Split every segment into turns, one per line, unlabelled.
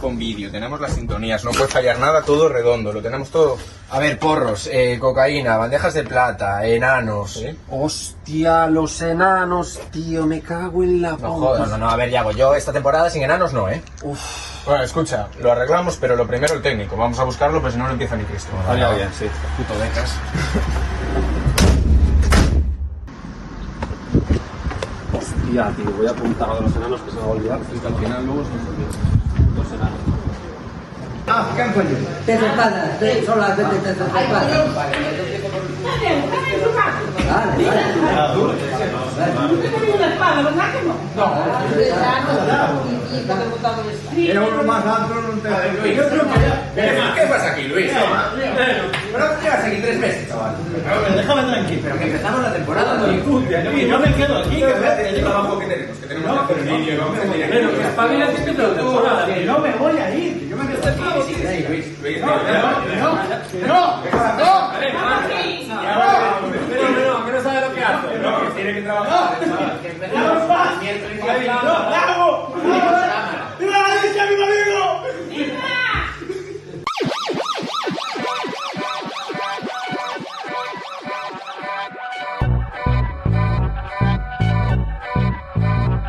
pues vídeo, tenemos las sintonías, no puede fallar nada, todo redondo, lo tenemos todo. A ver, porros, eh, cocaína, bandejas de plata, enanos.
Hostia, los enanos, tío, me cago en la
No
puta.
jodas, no, no, a ver, Yago, yo esta temporada sin enanos no, ¿eh?
Uf,
Bueno, escucha, lo arreglamos, pero lo primero el técnico. Vamos a buscarlo, pues si no, no empieza ni Cristo.
Vale,
bien, sí.
puto becas. Hostia, tío, voy a apuntar a los enanos que se me va a olvidar. porque al final luego son los enanos.
Desde espaldas, de- son las veces desde espaldas. Vale, vale.
¿Qué pasa aquí, Luis?
no me quedo aquí,
trabajo que tenemos? Que tenemos que hacer un vídeo, vamos a tener
Pero que espabilas que te lo temporada. Que no me voy a ir, que yo me quedo aquí. Pero no, que no sabe lo que hace. No, que tiene que trabajar. Que empezamos más. ¡No, bravo! ¡Viva la leche, mi amigo!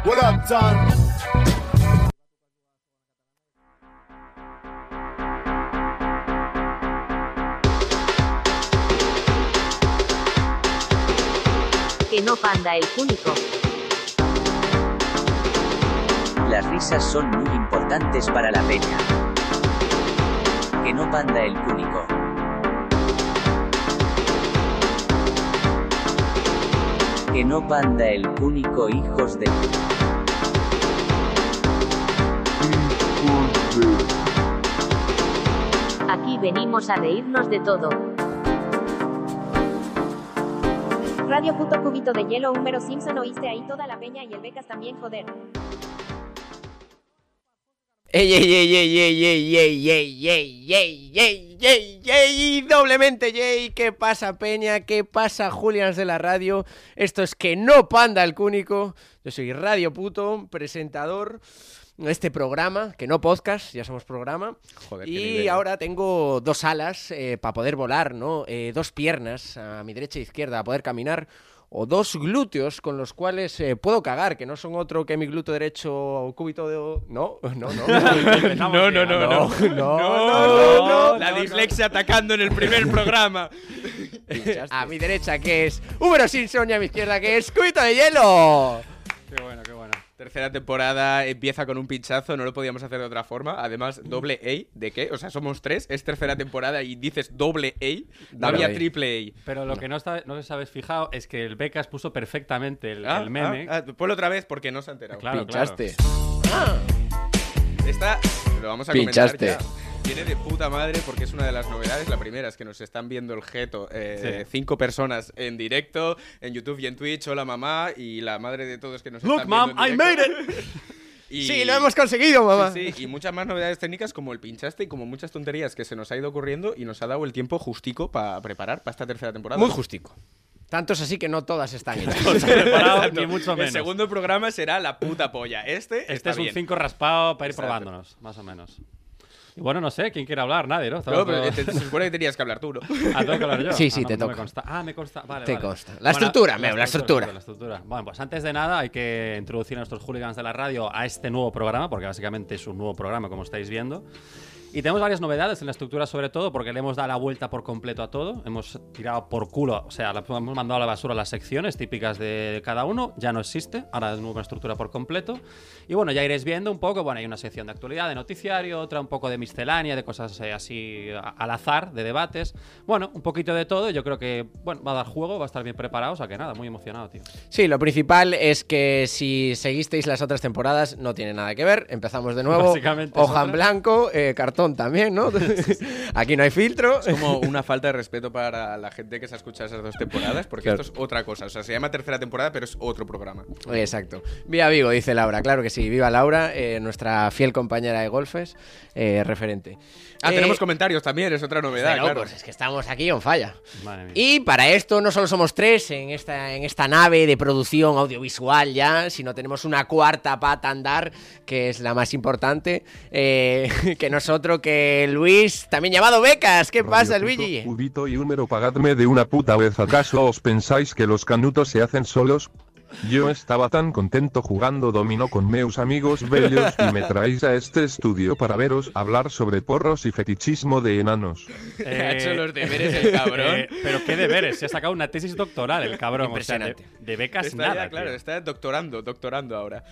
What up, Tom?
Que no panda el público.
Las risas son muy importantes para la peña. Que no panda el cúnico. Que no panda el cúnico, hijos de...
Aquí venimos a reírnos de todo. Radio puto cubito de hielo húmero Simpson oíste ahí toda la peña y el becas también joder.
¡Ey, ey, ey, ey, ey, ey, ey, ey, ey, ey, ey, ey, ey! Doblemente, yey. ¿Qué pasa, Peña? ¿Qué pasa, Julians de la radio? Esto es que no panda el cúnico. Yo soy Radio Puto, presentador de este programa, que no podcast, ya somos programa.
Joder, qué
y
nivel.
ahora tengo dos alas para poder volar, ¿no? Eh, dos piernas a mi derecha e izquierda para poder caminar. O dos glúteos con los cuales eh, puedo cagar, que no son otro que mi glúteo derecho o cúbito de. No, no, no.
No, no, no, no, no.
No, no, no, no,
La
no,
dislexia atacando en el primer programa.
A mi derecha que es Húmero Simpson y a mi izquierda que es Cubito de Hielo.
Qué bueno, qué bueno. Tercera temporada empieza con un pinchazo, no lo podíamos hacer de otra forma. Además, doble A, ¿de qué? O sea, somos tres, es tercera temporada y dices doble A, no
Doble
había
A.
triple
Pero lo que no, está, no os habéis fijado es que el Becas puso perfectamente el,
A. Ah,
el meme.
ah, ah, ponlo otra vez porque no se ha enterado.
Claro,
Pinchaste.
Esta lo vamos a
Pinchaste.
comentar ya. Viene de puta madre porque es una de las novedades. La primera es que nos están viendo el jeto eh,
Sí.
cinco personas en directo, en YouTube y en Twitch. Hola mamá y la madre de todos que nos
Look,
están
mom,
viendo en
I
directo.
made
Y-
Sí, lo hemos conseguido, mamá.
Sí, sí, y muchas más novedades técnicas como el pinchaste y como muchas tonterías que se nos ha ido ocurriendo y nos ha dado el tiempo justico para preparar para esta tercera temporada.
Muy justico. Tanto es así que no todas están hechas.
No se ha preparado ni mucho
El
menos.
segundo programa será la puta polla. Este,
Este
está
es un
bien.
5 raspado para ir
Exacto.
probándonos, más o menos. Y bueno, no sé, ¿quién quiere hablar? Nadie, ¿no? Estaba
No, pero
todo-
eh, te- se supone que tenías que hablar tú, ¿no?
Ah, tengo que hablar yo.
Sí, sí,
Ah, no,
te
no me
toca.
consta. Ah, me consta. Vale,
Te
vale.
consta. La estructura, Meo, la estructura.
La estructura. Bueno, pues antes de nada hay que introducir a nuestros hooligans de la radio a este nuevo programa, porque básicamente es un nuevo programa, como estáis viendo. Y tenemos varias novedades en la estructura, sobre todo, porque le hemos dado la vuelta por completo a todo. Hemos tirado por culo, o sea, la- hemos mandado a la basura las secciones típicas de cada uno. Ya no existe, ahora es nueva estructura por completo. Y bueno, ya iréis viendo un poco. Bueno, hay una sección de actualidad, de noticiario, otra un poco de miscelánea, de cosas eh, así a- al azar, de debates. Bueno, un poquito de todo. Yo creo que bueno, va a dar juego, va a estar bien preparado. O sea que nada, muy emocionado, tío.
Sí, lo principal es que si seguisteis las otras temporadas, no tiene nada que ver. Empezamos de nuevo.
Básicamente es
Hoja en
otra.
blanco, eh, cartón cartón también, ¿no? Aquí no hay filtro.
Es como una falta de respeto para la gente que se ha escuchado esas dos temporadas, porque
Claro.
esto es otra cosa. O sea, se llama tercera temporada, pero es otro programa.
Exacto. Viva Vigo, dice Laura. Claro que sí. Viva Laura, eh, nuestra fiel compañera de golfes, eh, referente.
Ah,
Eh,
tenemos comentarios también, es otra novedad,
de
claro.
locos, es que estamos aquí on falla.
Madre mía.
Y para esto no solo somos tres en esta, en esta nave de producción audiovisual ya, sino tenemos una cuarta pata a andar, que es la más importante, eh, que nosotros, que Luis, también llamado Becas. ¿Qué pasa, Luigi?
Ubito y Húmero, pagadme de una puta vez. ¿Acaso os pensáis que los canutos se hacen solos? Yo estaba tan contento jugando dominó con meus amigos bellos y me traéis a este estudio para veros hablar sobre porros y fetichismo de enanos.
Eh,
Ha hecho los deberes el cabrón.
eh, pero qué deberes, se ha sacado una tesis doctoral el cabrón. o sea, de-
Impresionante.
de, becas
Está ya,
nada.
claro,
tío.
está doctorando, doctorando ahora.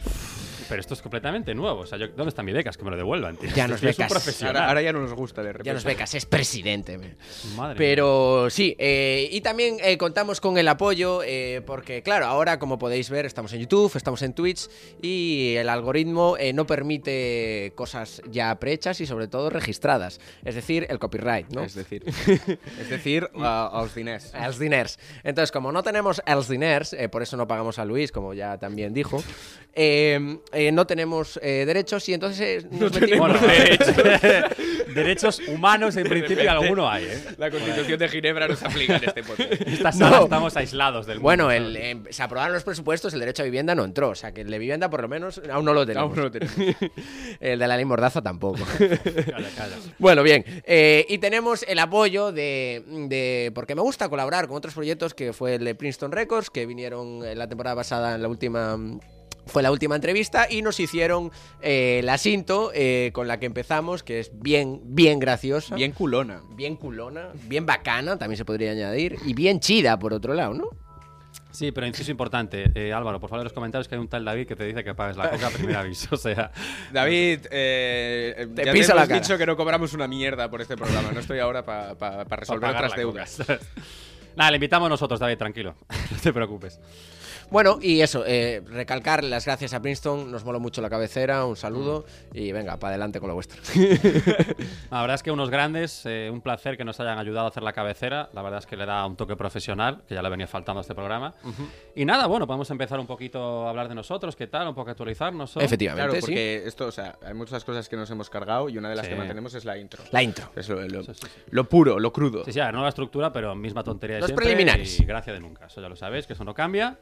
Pero esto es completamente nuevo. O sea, yo- ¿dónde están mis becas? Que me lo devuelvan, tío.
Ya
Este
nos
tío es un
becas.
profesional.
Ahora, ahora ya no nos gusta de repente.
Ya nos Becas es presidente. men.
Madre mía.
Pero sí, eh, y también eh, contamos con el apoyo, eh, porque claro, ahora como podéis ver, estamos en YouTube, estamos en Twitch y el algoritmo eh, no permite cosas ya prehechas y sobre todo registradas, es decir, el copyright, ¿no?
Es decir, es decir, a, a os diners.
Els diners. Entonces, como no tenemos els diners, eh, por eso no pagamos a Luis, como ya también dijo, eh, eh, no tenemos eh, derechos y entonces eh, nos metimos-
Bueno, derechos, derechos humanos en principio alguno hay, ¿eh?
La constitución de Ginebra nos aplica en este podcast.
En esta sala
No.
estamos aislados del mundo.
Bueno,
¿sabes?
el, eh, se aprobaron los presupuestos, el derecho a vivienda no entró. O sea, que el de vivienda por lo menos aún no lo tenemos.
Aún no lo tenemos.
el de la ley mordaza tampoco. eh.
Calla, calla.
bueno, bien. eh, y tenemos el apoyo de, de- Porque me gusta colaborar con otros proyectos que fue el de Princeton Records, que vinieron en la temporada pasada en la última... Fue la última entrevista y nos hicieron eh, la cinto eh, con la que empezamos, que es bien, bien graciosa.
Bien culona.
Bien culona, bien bacana, también se podría añadir, y bien chida, por otro lado, ¿no?
Sí, pero inciso importante. Eh, Álvaro, por favor, en los comentarios que hay un tal David que te dice que pagues la coca a primer aviso. O sea,
David, eh,
Te
ya
pisa la
hemos
cara.
dicho que no cobramos una mierda por este programa. No estoy ahora para
para
resolver
pagar
otras
la
deudas.
coca, ¿sabes? Nada, le invitamos nosotros, David, tranquilo. No te preocupes.
Bueno, y eso, eh, recalcar las gracias a Princeton, nos moló mucho la cabecera, un saludo
Mm.
y venga, para adelante con lo vuestro.
La verdad es que unos grandes, eh, un placer que nos hayan ayudado a hacer la cabecera. La verdad es que le da un toque profesional, que ya le venía faltando a este programa. Y nada, bueno, podemos empezar un poquito a hablar de nosotros, qué tal, un poco actualizarnos. ¿o?
Efectivamente,
Claro,
sí.
porque esto, o sea, hay muchas cosas que nos hemos cargado y una de las
Sí.
que mantenemos es la intro.
La intro.
Es lo, lo- lo puro, lo crudo.
Sí, sí, a ver, nueva estructura, pero misma tontería de
Los
siempre
preliminares.
Y gracia de nunca, eso ya lo sabéis, que eso no cambia.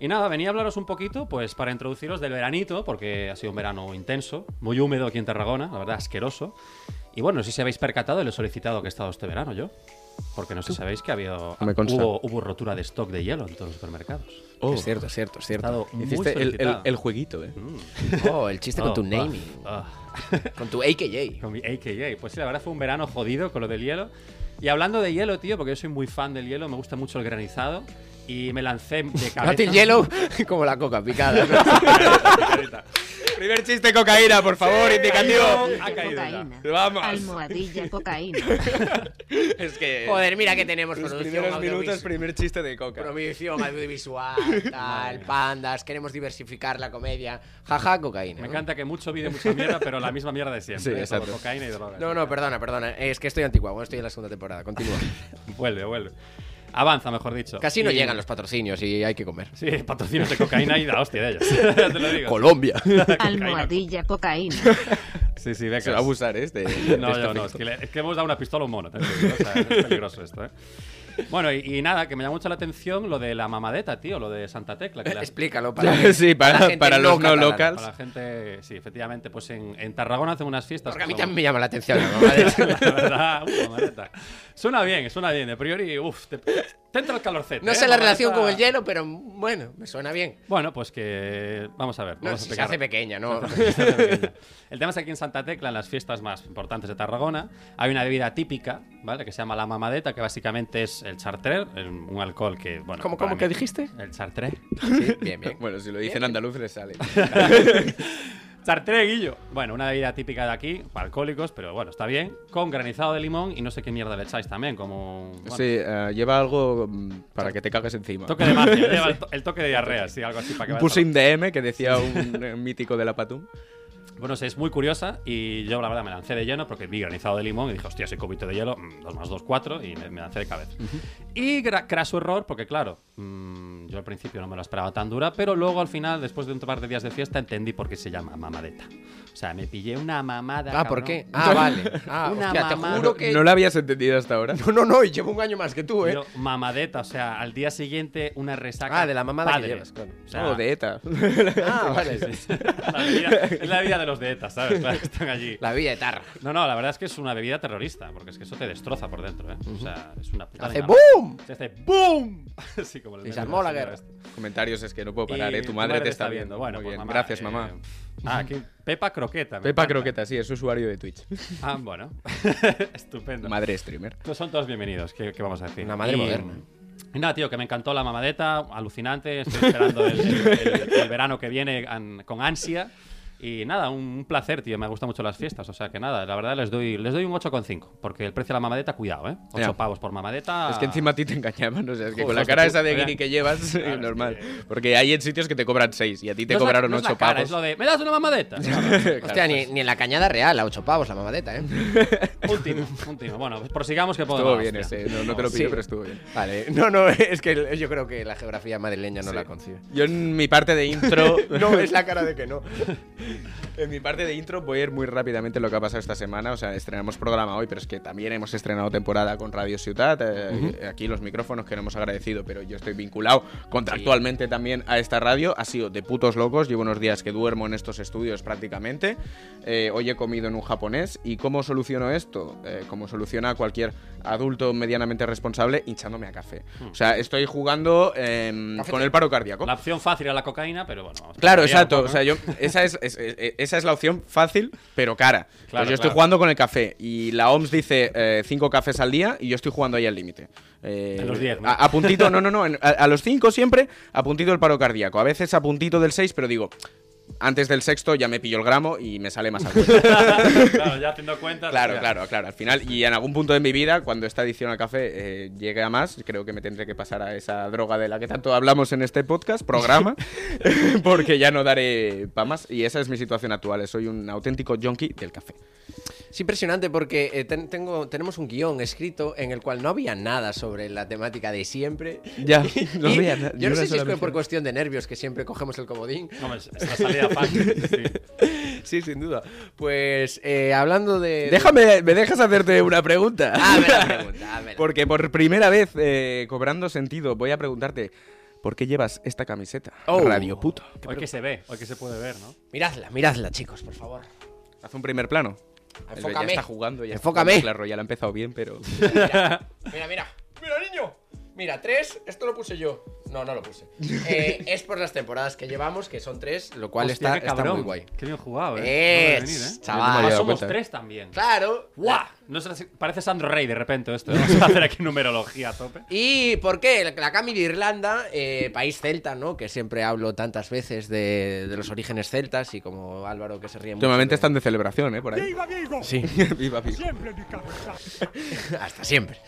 Y nada, venía a hablaros un poquito, pues para introduciros del veranito, porque ha sido un verano intenso, muy húmedo aquí en Tarragona, la verdad, asqueroso. Y bueno, no sé si habéis percatado lo solicitado que he estado este verano yo. Porque no sé si sabéis que ha habido,
Me consta.
hubo, hubo rotura de stock de hielo en todos los supermercados.
Es cierto, es cierto, es
Ha
cierto.
estado muy
Hiciste el, el-
solicitado.
el jueguito, ¿eh?
Oh, el chiste
Oh,
con tu
ah,
naming,
ah.
con tu AKJ.
Con mi AKA. Pues sí, la verdad fue un verano jodido con lo del hielo. Y hablando de hielo, tío, porque yo soy muy fan del hielo, me gusta mucho el granizado. Y me lancé de cabeza.
Date el hielo como la coca picada.
Primer chiste cocaína, por favor, indicativo.
Ha caído ya.
Vamos.
Almohadilla cocaína.
Es que.
Joder, mira que tenemos
los
producción
primeros minutos,
audiovisual.
primer chiste de coca.
Producción audiovisual, tal, pandas, queremos diversificar la comedia. Jaja, cocaína.
Me
¿no?
encanta que mucho vídeo, mucha mierda, pero la misma mierda de siempre.
Sí,
¿eh? Todo,
exacto.
cocaína y drogas.
No, no, perdona, perdona. Es que estoy anticuado, estoy en la segunda temporada. Continúa.
Vuelve, vuelve. Avanza, mejor dicho.
Casi no
Y-
llegan los patrocinios y hay que comer.
Sí, patrocinios de cocaína y la hostia de ellos. Ya te lo digo.
Colombia.
Cocaína.
Almohadilla cocaína.
Sí, sí,
Se va a
becas.
abusar, ¿eh? Este,
No, yo no, es que, le- es que hemos dado una pistola a un mono. te lo digo, o sea, es peligroso esto, ¿eh? Bueno, y, y nada, que me llama mucho la atención lo de la mamadeta, tío, lo de Santa Tecla. Que la-
Explícalo para
sí,
la
para,
gente
para los no
catalana.
locals.
Para la gente, sí, efectivamente, pues en, en Tarragona hacen unas fiestas.
Pues Porque a mí
que son-
también me llama la atención. la mamadera.
La verdad, una maleta. Suena bien, suena bien. De priori, uff, te, te entra el calorcete.
No
¿eh?
sé la
Maleta-
relación con el hielo, pero bueno, me suena bien.
Bueno, pues que. Vamos a ver.
No,
vamos a
si se
explicar.
hace pequeña, ¿no?
Se hace pequeña. El tema es que aquí en Santa Tecla, en las fiestas más importantes de Tarragona, hay una bebida típica, ¿vale? Que se llama la mamadeta, que básicamente es el chartreux, el- un alcohol que, bueno...
¿Cómo-
para
cómo
mí-
que dijiste?
El chartreux.
Sí, bien, bien.
Bueno, si lo dicen andaluz, les sale.
Chartreux, Guillo. Bueno, una bebida típica de aquí, para alcohólicos, pero bueno, está bien. Con granizado de limón y no sé qué mierda le echáis también, como... bueno,
Sí, eh, lleva algo mm, para que te cagues encima.
Toque de magia, lleva el, to- el toque de diarrea, sí, algo así para que
Un
vaya
pushing DM que decía un eh, mítico de la Patum.
solo. Bueno, sí, es muy curiosa y yo la verdad me lancé de lleno porque vi granizado de limón y dije, hostia, soy cubito de hielo, 2 más 2, 4 y me, me lancé de cabeza. Y gra- craso error porque, claro, mm, yo al principio no me lo esperaba tan dura, pero luego al final, después de un par de días de fiesta, entendí por qué se llama mamadeta. O sea, me pillé una mamada.
Ah, ¿por
cabrón.
qué? Ah, vale. Ah,
una
hostia, te
mamada.
juro que-
No la habías entendido hasta ahora.
No, no, no, y llevo un año más que tú, ¿eh?
Pero mamadeta, o sea, al día siguiente una resaca.
Ah, de la mamada que
padre.
llevas, claro.
O sea,
No, de ETA.
ah, vale.
Sí, sí. La bebida- es la vida de los de ETA, ¿sabes? Claro, están allí.
La villa de Tarra.
No, no, la verdad es que es una bebida terrorista, porque es que eso te destroza por dentro, ¿eh? O sea, es una puta.
Hace
dinamita.
¡boom!
Se hace ¡boom! Así como el
Y se
meme
armó
de
la
señora
guerra.
esta.
Comentarios es que no puedo parar,
Y
¿eh? Tu madre, te está viendo.
Bueno,
Muy
pues,
bien. Gracias,
eh,
mamá.
Ah, aquí Pepa Croqueta. me
Pepa
encanta.
Croqueta, sí, es usuario de Twitch.
Ah, bueno. Estupendo.
Madre streamer.
Pues son todos bienvenidos, ¿qué, qué vamos a decir?
Una madre
Y-
moderna.
y nada, tío, que me encantó la mamadeta, alucinante, estoy esperando el, el- el- el verano que viene an- con ansia. Y nada, un placer, tío, me gustan mucho las fiestas, o sea que nada, la verdad les doy, les doy un 8,5, porque el precio de la mamadeta, cuidado, ¿eh? 8
Ya.
pavos por mamadeta.
Es que encima a ti te engañaban, o sea, es que
Joder,
con la
hostia,
cara
tú, eh.
esa de
mira.
guiri que llevas, eh,
Claro, es
normal.
que-
Porque hay en sitios que te cobran 6 y a ti te
No es la-
cobraron
no es la
8
cara,
pavos.
Es lo de, ¿me das una mamadeta?
Hostia, ni, ni en la cañada real, a ocho pavos la mamadeta, ¿eh?
un timo, un timo. Bueno, pues prosigamos que podemos.
Estuvo bien ese, no, no te lo pido,
Sí.
pero estuvo bien.
Vale, no, no, es que yo creo que la geografía madrileña no
Sí.
la concibe.
Yo en mi parte de intro.
No, es la cara de que no.
En mi parte de intro voy a ir muy rápidamente lo que ha pasado esta semana. O sea, estrenamos programa hoy, pero es que también hemos estrenado temporada con Radio Ciudad. Eh, Aquí los micrófonos que no hemos agradecido, pero yo estoy vinculado contractualmente también a esta radio. Ha sido de putos locos. Llevo unos días que duermo en estos estudios prácticamente. Eh, hoy he comido en un japonés. ¿Y cómo soluciono esto? Eh, como soluciona cualquier adulto medianamente responsable, hinchándome a café. O sea, estoy jugando em, con el paro cardíaco.
La opción fácil era la cocaína, pero bueno, vamos. a
Claro,
cambiar un
exacto.
poco,
O
¿no?
sea, yo, esa, es, es- es- esa es la opción fácil, pero cara. Pues
Claro,
yo estoy
claro.
jugando con el café y la OMS dice eh, cinco cafés al día y yo estoy jugando ahí al límite. Eh,
En los diez, ¿no?
A, a puntito, no, no, no. en- a, a los cinco siempre, a puntito el paro cardíaco. A veces a puntito del seis, pero digo, antes del sexto ya me pillo el gramo y me sale más alto.
claro, ya haciendo cuentas.
Claro,
ya.
claro, claro. Al final, y en algún punto de mi vida, cuando esta adicción al café eh, llegue a más, creo que me tendré que pasar a esa droga de la que tanto hablamos en este podcast, programa, porque ya no daré pa' más. Y esa es mi situación actual. Soy un auténtico junkie del café.
Es impresionante porque eh, ten- tengo, tenemos un guión escrito en el cual no había nada sobre la temática de siempre.
Ya,
Y yo no sé si es que por cuestión de nervios que siempre cogemos el comodín.
Hombre, es es la salida fácil. sí.
Sí, sin duda. Pues eh, hablando de...
Déjame, ¿me dejas hacerte una pregunta?
Dame la pregunta, dame la-
Porque por primera vez, eh, cobrando sentido, voy a preguntarte, ¿por qué llevas esta camiseta?
Oh.
Radio puto.
Hoy que se ve, hoy que se puede ver, ¿no?
Miradla, miradla, chicos, por favor.
Haz un primer plano.
Enfócame.
Ya está jugando, ya está
Enfócame.
jugando, Claro, ya la ha empezado bien, pero.
Mira, mira. Mira, niño. Mira, tres. Esto lo puse yo. No, no lo puse. Eh, es por las temporadas que llevamos, que son tres, lo cual
Hostia,
está,
qué
está
cabrón.
muy guay.
Qué bien jugado, ¿eh?
Eh,
No voy a venir,
chaval.
¿eh? Además,
No me había dado
somos
cuenta.
tres también.
Claro.
¡Guau! No sé si- parece Sandro Rey de repente esto. ¿eh? Vamos a hacer aquí numerología a tope.
¿Y por qué? La- La Cami de Irlanda, eh, país celta, ¿no? Que siempre hablo tantas veces de, de los orígenes celtas y como Álvaro que se ríe mucho.
Últimamente
de-
están de celebración, ¿eh? Por ahí.
Sí.
Viva, viva.
Hasta siempre.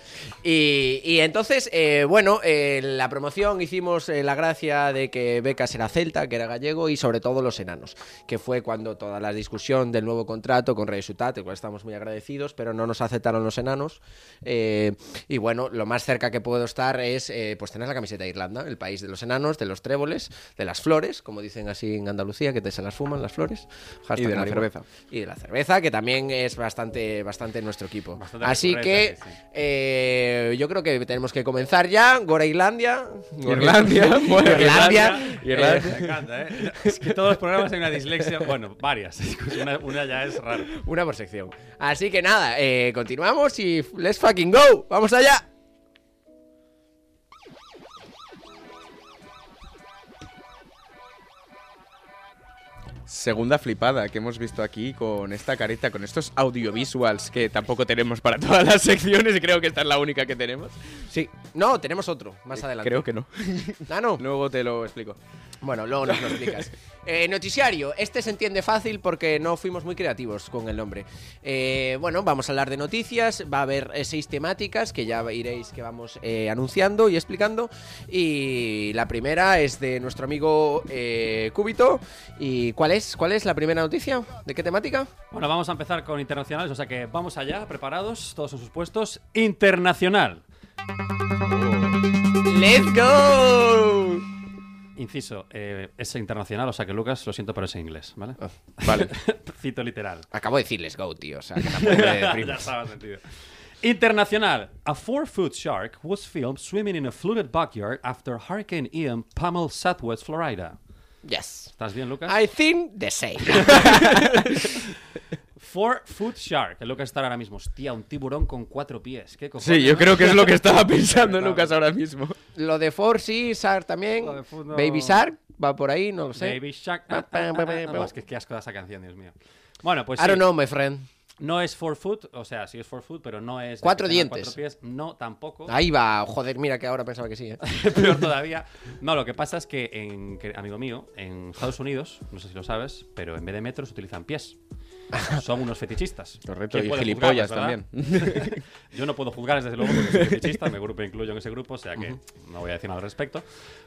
Y, y entonces, eh, bueno, eh, la promoción hicimos eh, la gracia de que Becas era celta, que era gallego y sobre todo los enanos, que fue cuando toda la discusión del nuevo contrato con Rey Sutat, del cual estamos muy agradecidos, pero no nos aceptaron los enanos. Eh, y bueno, lo más cerca que puedo estar es eh, pues tener la camiseta de Irlanda, el país de los enanos, de los tréboles, de las flores, como dicen así en Andalucía, que te se las fuman las flores. Hashtag
la
marihuana.
cerveza.
Y de la cerveza, que también es bastante, bastante nuestro equipo.
Bastante
Así que
recurrente, sí.
eh, yo creo que tenemos que comenzar ya. Gora Islandia.
Irlandia, bueno,
Irlandia.
Irlandia.
eh,
Me encanta, ¿eh? Es que todos los programas hay una dislexia. Bueno, varias. Una, una ya es raro.
una por sección. Así que nada, eh, continuamos y f- let's fucking go. Vamos allá.
Segunda flipada que hemos visto aquí con esta careta, con estos audiovisuals que tampoco tenemos para todas las secciones y creo que esta es la única que tenemos.
Sí. No, tenemos otro más adelante.
Eh, Creo que no.
Ah, no.
Luego te lo explico.
Bueno, luego nos lo explicas. Eh, noticiario. Este se entiende fácil porque no fuimos muy creativos con el nombre. Eh, bueno, vamos a hablar de noticias. Va a haber eh, seis temáticas que ya iréis que vamos eh, anunciando y explicando. Y la primera es de nuestro amigo eh, Cúbito. ¿Y cuál es? ¿Cuál es la primera noticia? ¿De qué temática?
Bueno, vamos a empezar con internacionales, o sea que vamos allá, preparados, todos en sus puestos. Internacional.
¡Let's go!
Inciso, eh, es internacional, o sea que Lucas, lo siento, pero es en inglés, ¿vale?
vale.
Cito literal.
Ah, Acabo de decir let's go, tío. O sea, que tampoco le
ya
deprimas.
estaba sentido. Internacional. A four-foot shark was filmed swimming in a flooded backyard after Hurricane Ian pummeled Southwest Florida.
Yes.
¿Estás bien, Lucas?
I think the same.
Four-foot shark. El Lucas está ahora mismo. Hostia, un tiburón con cuatro pies. ¿Qué cojones,
Sí, yo
no?
creo que es lo que estaba pensando Lucas ahora mismo.
Lo de Four, sí, Shark también.
Lo de Four, no.
Baby Shark va por ahí, no lo sé.
Baby shark. ah, ah, ah, ah, ah. Es que qué asco da esa canción, Dios mío. Bueno, pues
I don't
sí.
know, my friend.
No es four foot, o sea, sí es four foot, pero no es. de
Cuatro
que tenga
dientes.
Cuatro pies. No, tampoco.
Ahí va, joder, mira que ahora pensaba que sí. ¿eh?
Peor todavía. No, lo que pasa es que, en, que, amigo mío, en Estados Unidos, no sé si lo sabes, pero en vez de metros utilizan pies. Son unos fetichistas.
Correcto,
¿Quién
y
puede
gilipollas
juzgarlos, verdad? Yo no puedo juzgar, desde luego, porque soy fetichista, me grupo incluyo en ese grupo, o sea que no voy a decir nada al respecto.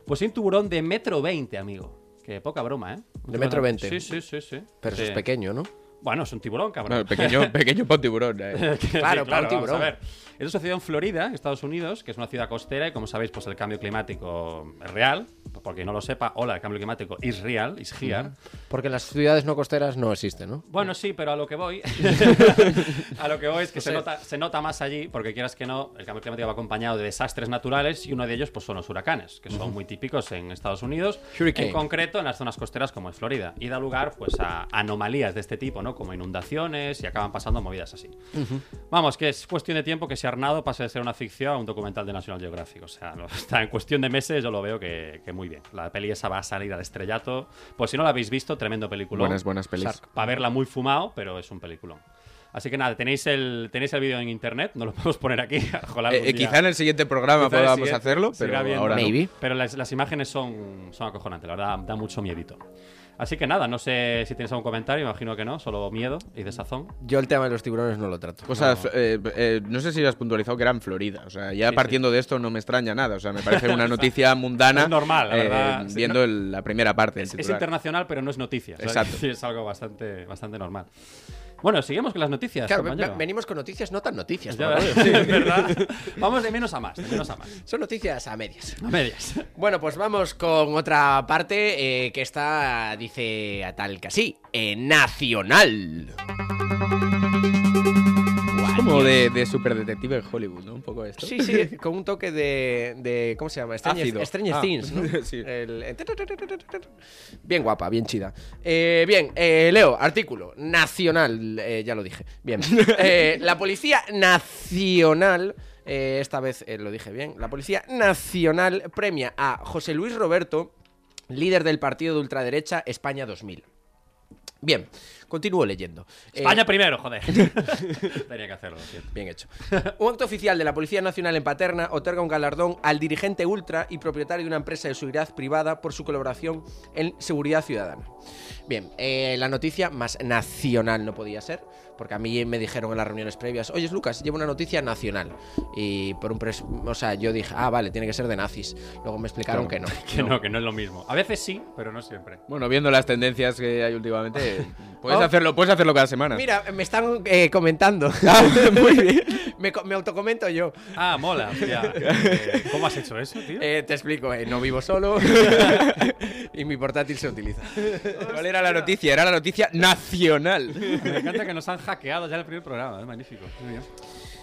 Pues hay un tiburón de metro veinte, amigo. Que poca broma, ¿eh? Un
De metro
tiburón
20.
Sí, sí, sí, sí.
Pero eso
Sí.
es pequeño, ¿no?
Bueno, es un tiburón, cabrón.
No, pequeño, pequeño pa' tiburón. eh.
Sí,
Claro, para un
vamos
tiburón.
a ver. Eso sucedió en Florida, Estados Unidos, que es una ciudad costera y como sabéis, pues el cambio climático es real. Porque no lo sepa, hola, el cambio climático es real, es here.
Porque en las ciudades no costeras no existe, ¿no?
Bueno, sí, pero a lo que voy. a lo que voy es que
No
se,
sé.
nota, se nota más allí, porque quieras que no, el cambio climático va acompañado de desastres naturales y uno de ellos pues, son los huracanes, que son muy típicos en Estados Unidos,
Hurricane.
en concreto en las zonas costeras como es Florida, y da lugar pues, a anomalías de este tipo, ¿no? como inundaciones y acaban pasando movidas así. Vamos, que es cuestión de tiempo que ese Arnado pase de ser una ficción a un documental de National Geographic. O sea, lo- está en cuestión de meses, yo lo veo que, que muy bien. La peli esa va a salir al estrellato. Pues si no la habéis visto, tremendo película
Buenas, buenas pelis.
para verla muy fumado, pero es un peliculón. Así que nada, tenéis el, tenéis el vídeo en internet, no lo podemos poner aquí. Ojalá
Eh,
algún
eh,
día-
quizá en el siguiente programa
quizá el
podamos
siguiente
hacerlo,
se irá
pero
viendo.
ahora no.
Maybe.
Pero las, las imágenes son, son acojonantes, la verdad, da mucho miedito. Así que nada, no sé si tienes algún comentario, imagino que no, solo miedo y desazón.
Yo el tema de los tiburones no lo trato.
Cosas, eh, eh, no sé si has puntualizado que era en Florida. O sea, ya
Sí,
partiendo de esto no me extraña nada. O sea, me parece una noticia mundana. eh,
Es normal, la verdad. Sí,
Viendo
no-
el- la primera parte. del
Es, es
titular.
internacional, pero no es noticia. o sea,
Exacto.
que sí, es algo bastante, bastante normal. Bueno, seguimos con las noticias.
Claro, ve-
compañero.
ve- venimos con noticias no tan noticias.
Ya,
¿no?
¿verdad? Vamos de menos a más, de menos a más.
Son noticias a medias.
A medias.
Bueno, pues vamos con otra parte eh, que está, dice a tal que así, eh, nacional.
Es como de, de superdetective en Hollywood, ¿no? Un poco esto.
Sí, sí, con un toque de, de- ¿cómo se llama? Stranger,
Ácido.
Stranger
Ah,
Things, ¿no?
sí.
El- eh, Bien guapa, bien chida. Eh, bien, eh, Leo, artículo, nacional, eh, ya lo dije. Bien. Eh, la Policía Nacional, eh, esta vez eh, lo dije bien, la Policía Nacional premia a José Luis Roberto, líder del partido de ultraderecha España 2000. Bien, continúo leyendo. Eh,
España primero, joder. Tenía que hacerlo, lo siento.
Bien hecho. Un acto oficial de la Policía Nacional en Paterna otorga un galardón al dirigente ultra y propietario de una empresa de seguridad privada por su colaboración en seguridad ciudadana. Bien, eh, la noticia más nacional no podía ser, porque a mí me dijeron en las reuniones previas, oye Lucas, llevo una noticia nacional. Y por un... pres- o sea, yo dije, ah, vale, tiene que ser de nazis. Luego me explicaron que no.
Que no. que no es lo mismo. A veces sí, pero no siempre.
Bueno, viendo las tendencias que hay últimamente, puedes,
Oh.
hacerlo, puedes hacerlo cada semana.
Mira, me están eh, comentando. me, co- me autocomento yo.
Ah, mola. hostia. Eh, ¿Cómo has hecho eso, tío?
Eh, te explico, eh, no vivo solo y mi portátil se utiliza.
¿Cuál era la noticia? Era la noticia nacional.
Me encanta que nos han hackeado ya el primer programa. Es magnífico. Muy bien.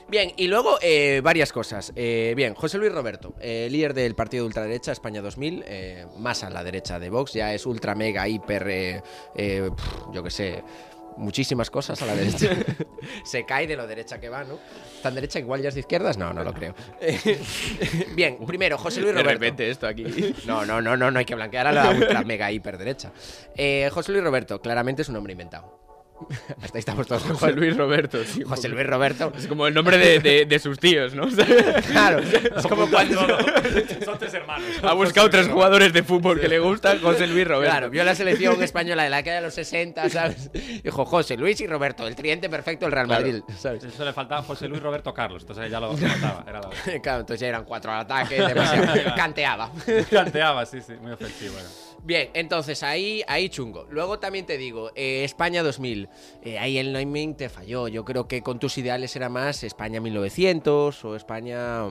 Bien, y luego eh, varias cosas. Eh, bien, José Luis Roberto, eh, líder del partido de ultraderecha España 2000, eh, más a la derecha de Vox, ya es ultra, mega, hiper, eh, eh, pf, yo qué sé, muchísimas cosas a la derecha. se cae de lo derecha que va, ¿no? ¿Tan derecha igual ya es de izquierdas? No, no lo creo. Eh, bien, primero, José Luis
De
Roberto.
repente esto aquí.
No, no, no, no, no hay que blanquear a la ultra mega hiper derecha. Eh, José Luis Roberto, claramente es un hombre inventado. Ahí estamos todos con
José Luis Roberto, tío.
José Luis Roberto.
Es como el nombre de, de- de sus tíos, ¿no?
Claro, es como cuando.
Son tres hermanos.
Ha buscado tres jugadores de fútbol que le gustan, José Luis Roberto.
Claro, vio la selección española de la que de los 60, ¿sabes? Dijo José Luis y Roberto, el tridente perfecto del Real
Claro.
Madrid, ¿sabes?
Eso le faltaba a José Luis Roberto Carlos, entonces ya lo faltaba. Era lo
Claro, entonces ya eran cuatro al ataque, demasiado. canteaba.
Planteaba, sí, sí, muy ofensivo. era.
Bien, entonces ahí, ahí chungo. Luego también te digo, eh, España 2000. eh, ahí el Neuming te falló. Yo creo que con tus ideales era más España 1900 o España,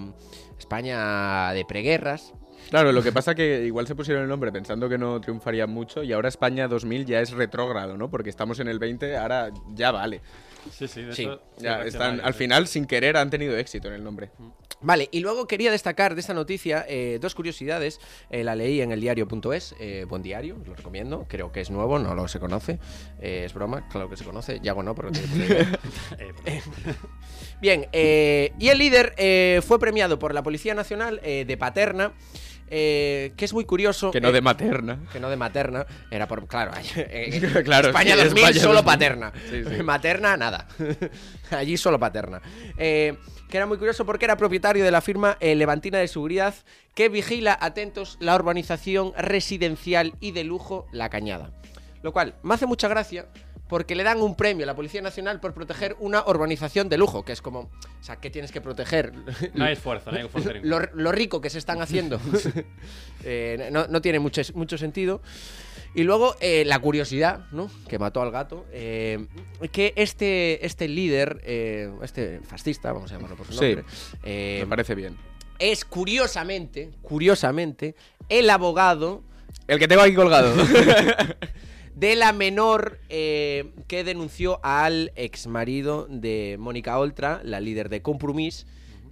España de preguerras.
Claro, lo que pasa que igual se pusieron el nombre pensando que no triunfaría mucho y ahora España 2000 ya es retrógrado, ¿no? Porque estamos en el 20, ahora ya vale.
Sí, sí, de
Sí,
eso eh. sí
Ya están,
reaccionaba.
al final, sin querer, han tenido éxito en el nombre.
Vale, y luego quería destacar de esta noticia eh, dos curiosidades. Eh, la leí en el diario.es, eh, buen diario, os lo recomiendo. Creo que es nuevo, no lo se conoce. Eh, es broma, claro que se conoce. Yago no, pero tiene puta idea.
Eh, perdón.
Bien, eh, y el líder eh, fue premiado por la Policía Nacional eh, de Paterna, eh, que es muy curioso.
Que no
eh,
de materna.
que no de materna, era por. Claro, eh,
Claro,
España
sí,
2000
España
solo
2000.
paterna.
Sí, sí.
Materna, nada. Allí solo paterna. Eh, que era muy curioso porque era propietario de la firma eh, Levantina de Seguridad que vigila, atentos, la urbanización residencial y de lujo La Cañada. Lo cual me hace mucha gracia porque le dan un premio a la Policía Nacional por proteger una urbanización de lujo, que es como, o sea, ¿qué tienes que proteger?
No hay esfuerzo, no hay esfuerzo. ningún.
lo, lo rico que se están haciendo Eh, no, no tiene mucho, mucho sentido. Y luego eh, la curiosidad, ¿no? Que mató al gato. eh, que este, este líder, eh, este fascista, vamos a llamarlo por su
Sí.
nombre, eh,
Me parece bien.
es curiosamente, curiosamente, el abogado
El que tengo aquí colgado.
de la menor eh, que denunció al exmarido de Mónica Oltra, la líder de Compromís.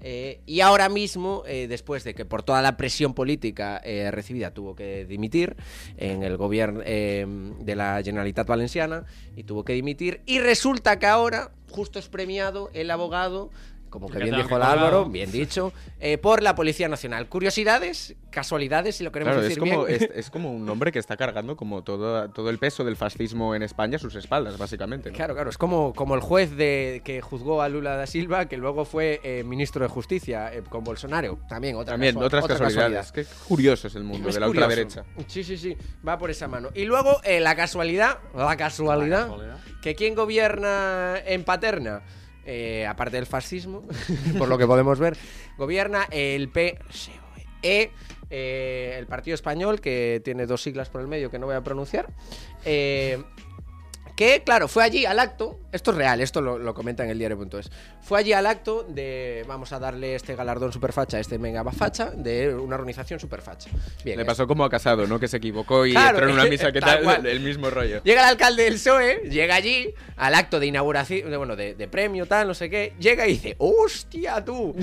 eh, y ahora mismo, eh, después de que por toda la presión política eh, recibida tuvo que dimitir en el gobierno eh, de la Generalitat Valenciana y tuvo que dimitir, y resulta que ahora justo es premiado el abogado, como
El
que
que
bien
tengo
dijo
que
el Álvaro,
colgado.
bien dicho, eh, por la Policía Nacional. Curiosidades, casualidades, si lo queremos
Claro, es
decir
como,
bien.
es, es como un hombre que está cargando como todo, todo el peso del fascismo en España a sus espaldas, básicamente. ¿no?
Claro, claro, es como, como el juez de, que juzgó a Lula da Silva, que luego fue eh, ministro de Justicia eh, con Bolsonaro. También, otra
También,
casual-
otras
otra
casualidades.
casualidad.
Qué curioso es el mundo
Es
de la
curioso.
ultraderecha.
Sí, sí, sí, va por esa mano. Y luego, eh, la casualidad, la casualidad,
casualidad.
que quien gobierna en Paterna, eh, aparte del fascismo, por lo que podemos ver, gobierna el PSOE, E. eh, el Partido Español, que tiene dos siglas por el medio que no voy a pronunciar. eh, que, claro, fue allí al acto, esto es real, esto lo, lo comenta en el diario.es, fue allí al acto de, vamos a darle este galardón superfacha, este mega facha, de una organización superfacha. Bien, eh.
Le pasó como a Casado, ¿no? Que se equivocó y
Claro,
entró en una misa que
tal
tal,
cual.
el mismo rollo.
Llega el alcalde del PSOE, E, llega allí al acto de inauguración, de, bueno, de, de premio, tal, no sé qué. Llega y dice, ¡hostia tú!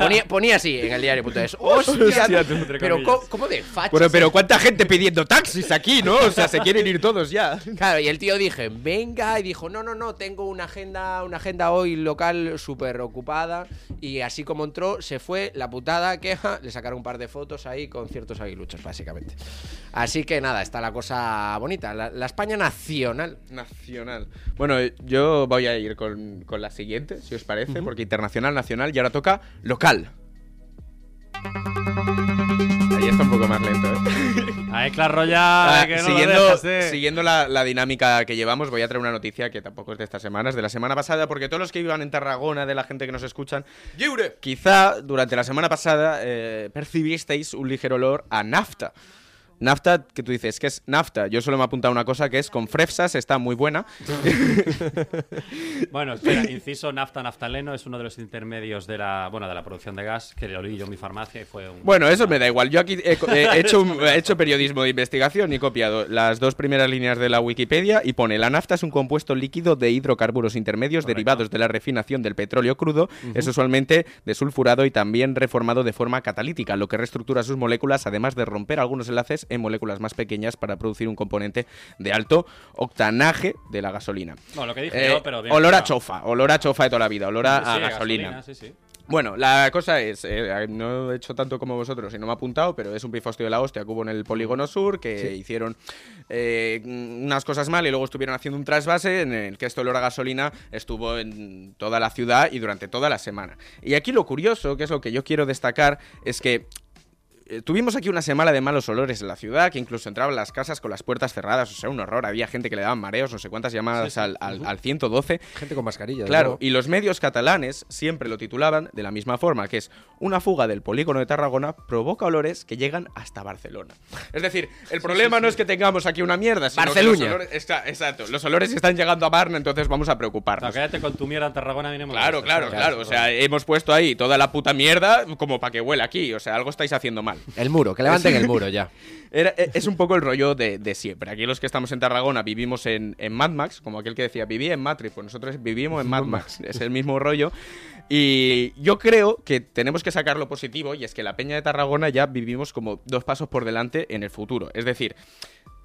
ponía, ponía así en el diario. punto es, ¡hostia,
Hostia
tú!
tú, entre
Pero,
comillas.
¿cómo, cómo de facha?
Bueno, pero ¿cuánta gente pidiendo taxis aquí, no? O sea, se quieren ir todos ya.
Claro, y el tío dije, venga, y dijo, no, no, no, tengo una agenda, una agenda hoy local súper ocupada. Y así como entró, se fue la putada queja, le sacaron un par de fotos ahí con ciertos aguiluchos, básicamente. Así que nada, está la cosa bonita, la, la España nacional.
Nacional. Bueno, yo voy a ir con, con la siguiente, si os parece, porque internacional, nacional y ahora toca local. Ahí está un poco más lento, ¿eh?
Ahí, claro, Royal,
Ah,
que no lo
siguiendo
dejas, eh.
siguiendo la, la dinámica que llevamos, voy a traer una noticia que tampoco es de esta semana, es de la semana pasada, porque todos los que iban en Tarragona, de la gente que nos escuchan, quizá durante la semana pasada eh, percibisteis un ligero olor a nafta. Nafta, que tú dices, que es nafta. Yo solo me he apuntado una cosa que es con frefsas, está muy buena.
Bueno, espera, inciso, nafta, naftaleno es uno de los intermedios de la, bueno, de la producción de gas que lo leí yo en mi farmacia y fue un...
Bueno, eso me da igual. Yo aquí he, co- he hecho, un- he hecho periodismo de investigación y he copiado las dos primeras líneas de la Wikipedia y pone la nafta es un compuesto líquido de hidrocarburos intermedios
Correcto.
derivados de la refinación del petróleo crudo. Es usualmente desulfurado y también reformado de forma catalítica, lo que reestructura sus moléculas además de romper algunos enlaces en moléculas más pequeñas para producir un componente de alto octanaje de la gasolina.
Bueno, lo que dije
Eh,
yo, pero bien.
olor a
explicado.
chofa, olor a chofa de toda la vida, olor a,
Sí,
a
sí,
gasolina.
sí, sí.
Bueno, la cosa es, eh, no he hecho tanto como vosotros y no me he apuntado, pero es un pifostio de la hostia que hubo en el Polígono Sur, que
Sí.
hicieron eh, unas cosas mal y luego estuvieron haciendo un trasvase en el que este olor a gasolina estuvo en toda la ciudad y durante toda la semana. Y aquí lo curioso, que es lo que yo quiero destacar, es que eh, Tuvimos aquí una semana de malos olores en la ciudad, que incluso entraban las casas con las puertas cerradas, o sea, un horror. Había gente que le daban mareos, no sé cuántas llamadas al, al- al 112.
Gente con mascarilla.
Claro, y los medios catalanes siempre lo titulaban de la misma forma, que es una fuga del polígono de Tarragona provoca olores que llegan hasta Barcelona. Es decir, el problema no es que tengamos aquí una mierda, sino que los
Barceluña.
olores- está- exacto, los olores están llegando a Barna, entonces vamos a preocuparnos.
Quédate con tu mierda en Tarragona, a mí no me
Claro,
gusta.
claro, claro. O sea, hemos puesto ahí toda la puta mierda como para que huela aquí. O sea, algo estáis haciendo mal.
El muro, que levanten
Sí.
el muro ya.
Era- e- es un poco el rollo de, de siempre. Aquí los que estamos en Tarragona vivimos en, en Mad Max, como aquel que decía, viví en Matrix, pues nosotros vivimos en Mad Max, es el mismo rollo. Y yo creo que tenemos que sacar lo positivo, y es que la Peña de Tarragona ya vivimos como dos pasos por delante en el futuro. Es decir,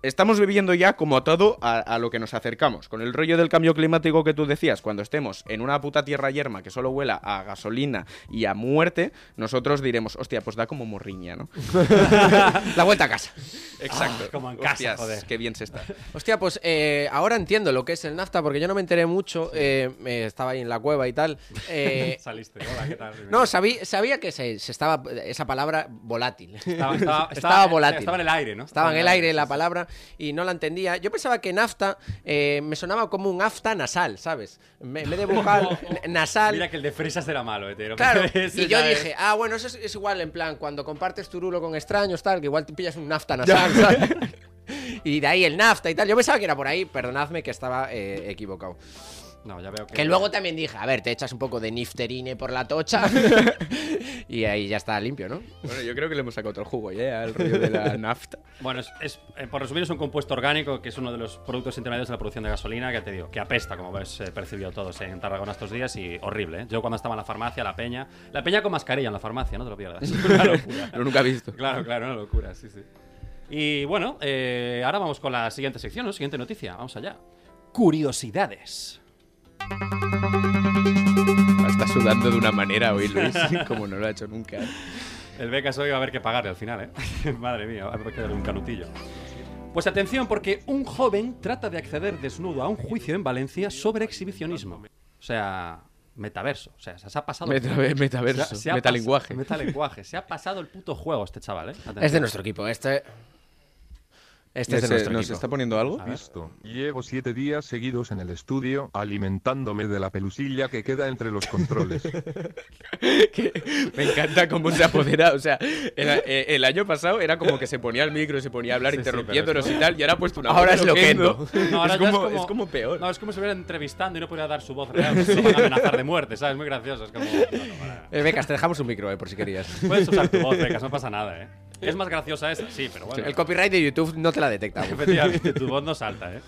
estamos viviendo ya como atado a, a lo que nos acercamos. Con el rollo del cambio climático que tú decías, cuando estemos en una puta tierra yerma que solo huela a gasolina y a muerte, nosotros diremos, hostia, pues da como morriña, ¿no?
La vuelta a casa.
Exacto.
Ah, como en casa,
Hostias,
joder.
Qué bien se está.
Hostia, pues eh, ahora entiendo lo que es el NAFTA, porque yo no me enteré mucho. eh, eh, estaba ahí en la cueva y tal. eh,
Saliste. Hola, ¿qué tal?
no, sabí- sabía que se, se estaba esa palabra volátil.
Estaba- estaba-
Estaba volátil.
estaba en el aire, ¿no?
Estaba en el aire la palabra y no la entendía. Yo pensaba que NAFTA eh, me sonaba como un afta nasal, ¿sabes? Me- En vez de vocal nasal.
Mira que el de fresas era malo, eh, tío.
Claro, y
Ese
yo
ya es-
dije, ah, bueno, eso es, es igual, en plan, cuando compartes tu rulo con extraños, tal, que igual te pillas un nafta nasal, ¿sabes? Y de ahí el nafta y tal. Yo pensaba que era por ahí, perdonadme que estaba eh, equivocado.
No, ya veo eh. que.
Que luego también dije, a ver, te echas un poco de nifterine por la tocha y ahí ya está limpio, ¿no?
Bueno, yo creo que le hemos sacado otro jugo ya al rollo de la nafta.
Bueno, es, es- eh, por resumir, es un compuesto orgánico que es uno de los productos intermedios de la producción de gasolina que te digo, que apesta, como habéis eh, percibido todos en Tarragona estos días y horrible. ¿eh? Yo cuando estaba en la farmacia, la peña, la peña con mascarilla en la farmacia, no te lo pierdas. Una locura.
Lo nunca he visto.
Claro, claro, una locura, sí, sí. Y bueno, eh, ahora vamos con la siguiente sección, ¿no? Siguiente noticia, vamos allá. Curiosidades.
Está sudando de una manera hoy, Luis, como no lo ha hecho nunca.
El becas hoy va a haber que pagarle al final, ¿eh? Madre mía, va a haber que darle un canutillo. Pues atención, porque un joven trata de acceder desnudo a un juicio en Valencia sobre exhibicionismo. O sea, metaverso. O sea, se ha pasado.
Metaver- metaverso,
Se ha- se ha
metalenguaje.
pas- Metalenguaje. Se ha pasado el puto juego este chaval, ¿eh? Atención.
Es de nuestro equipo, este... Este es de
Ese,
nuestro
¿nos
equipo.
está
poniendo algo?
Listo. Llevo siete días seguidos en el estudio, alimentándome de la pelusilla que queda entre los controles.
Me encanta cómo se apodera. O sea, el, eh, el año pasado era como que se ponía el micro y se ponía a hablar
Sí, sí,
interrumpiéndonos
pero
y
es-
tal, y ahora ha puesto una
Ahora
voz de
es loquendo.
No, ahora
es,
ya
como, es como peor.
No, es como si hubiera entrevistando y no pudiera dar su voz real. porque Se lo van a amenazar de muerte, ¿sabes? Muy gracioso. Es como.
Eh, Becas, te dejamos un micro, eh, por si querías.
Puedes usar tu voz, becas, no pasa nada, ¿eh? Es más graciosa esa, sí, pero bueno.
El copyright de YouTube no te la detecta. aún.
Efectivamente, tu voz no salta, ¿eh?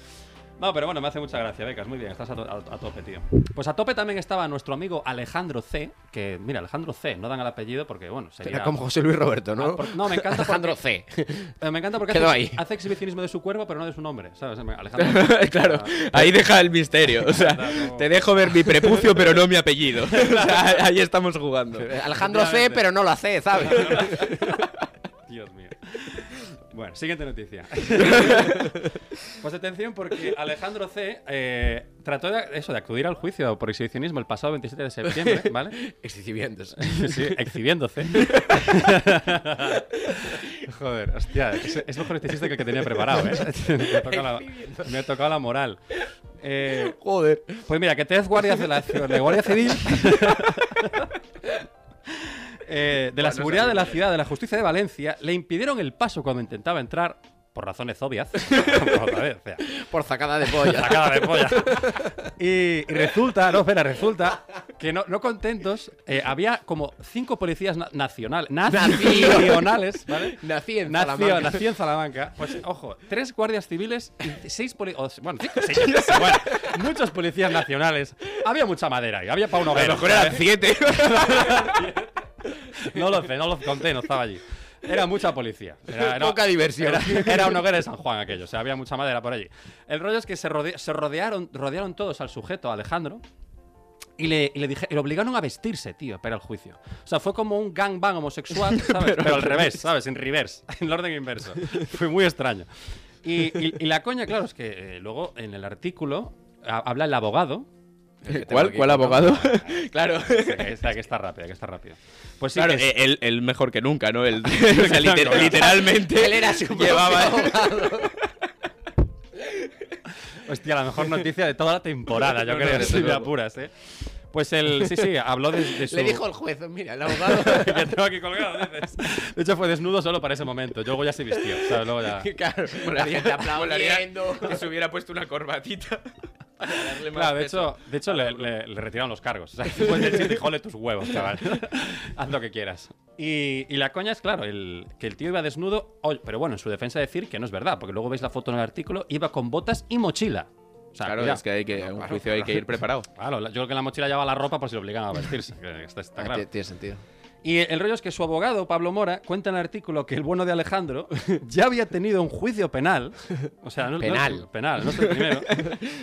No, pero bueno, me hace mucha gracia, Becas. Muy bien, estás a, to- a- a tope, tío. Pues a tope también estaba nuestro amigo Alejandro C. Que, mira, Alejandro C. No dan el apellido porque, bueno, sería.
Era como José Luis Roberto, ¿no?
Ah, por- no, me encanta.
Alejandro
porque- Eh, Me encanta porque
Quedó
hace,
ahí.
hace exhibicionismo de su cuerpo, pero no de su nombre, ¿sabes? Alejandro C. Ah,
claro, ahí deja el misterio. O sea, te dejo ver mi prepucio, pero no mi apellido. O sea, ahí estamos jugando.
Alejandro C, pero no la C, ¿sabes?
Dios mío. Bueno, siguiente noticia. pues atención porque Alejandro C. eh, trató de, eso, de acudir al juicio por exhibicionismo el pasado 27 de septiembre, ¿vale?
Exhibiéndose.
sí, exhibiéndose. Joder, hostia, es, es mejor este chiste que el que tenía preparado, ¿eh? Me ha tocado la, me ha tocado la moral.
Joder.
Pues mira, que tres guardias de la, de Guardia Civil... Eh, de la seguridad de la ciudad, de la justicia de Valencia, le impidieron el paso cuando intentaba entrar por razones obvias. Otra vez, o sea,
Por sacada de polla.
sacada de polla. Y, y resulta, no, espera, resulta que no, no contentos, eh, había como cinco policías na- nacional- nacionales, ¿vale?
Nací en
Nació-
Salamanca.
nació en Salamanca. Pues ojo, tres guardias civiles y seis policías. Bueno, cinco, seis, bueno, muchos policías nacionales. Había mucha madera ahí, había para un hoguero.
A lo mejor eran
¿sabes?
siete.
No lo sé, no lo conté, no estaba allí. Era mucha policía. Era, era-
Poca diversión.
Era, era un hoguera de San Juan aquello, o sea, había mucha madera por allí. El rollo es que se, rode- se rodearon, rodearon todos al sujeto, a Alejandro. Y le, y le dije, y lo obligaron a vestirse, tío, para el juicio. O sea, fue como un gangbang homosexual, ¿sabes? pero, al revés, ¿sabes? En reverse, en el orden inverso. fue muy extraño. Y, y- y la coña, claro, es que eh, luego en el artículo ha- habla el abogado.
que ¿Cuál? tengo aquí ¿Cuál apuntado. abogado?
claro. Que está, que está rápido, que está rápido. Pues sí,
claro,
que es-
eh, él, él mejor que nunca, ¿no? Él, o sea, liter-
Claro.
literalmente
Él era su propio
llevaba
Hostia, la mejor noticia de toda la temporada, yo
No, no,
creo,
desde
si me
luego.
apuras, ¿eh? Pues el, sí, sí, habló de, de su...
Le dijo el juez, mira, el abogado.
que tengo aquí colgado, dices. De hecho, fue desnudo solo para ese momento. Yo Luego ya se vistió, ¿sabes? Luego ya...
Claro, la
Molaría-
gente
molaría
aplaudiendo.
que se hubiera puesto una corbatita. para darle más
Claro, de
peso.
hecho, de hecho le, le- le retiraron los cargos. O sea, después del chiste, jole tus huevos, chaval. Haz lo que quieras. Y, y la coña es, claro, el, que el tío iba desnudo, oye, pero bueno, en su defensa decir que no es verdad, porque luego veis la foto en el artículo, iba con botas y mochila. O sea,
Claro,
cuidado.
es que hay que, a un
claro,
juicio hay que
claro.
ir preparado.
Claro, la- yo creo que la mochila llevaba la ropa por si lo obligan a vestirse. que está, está claro.
Tiene sentido.
Y el rollo es que su abogado, Pablo Mora, cuenta en el artículo que el bueno de Alejandro ya había tenido un juicio penal. O sea, no, no-
Penal.
penal, no es el primero.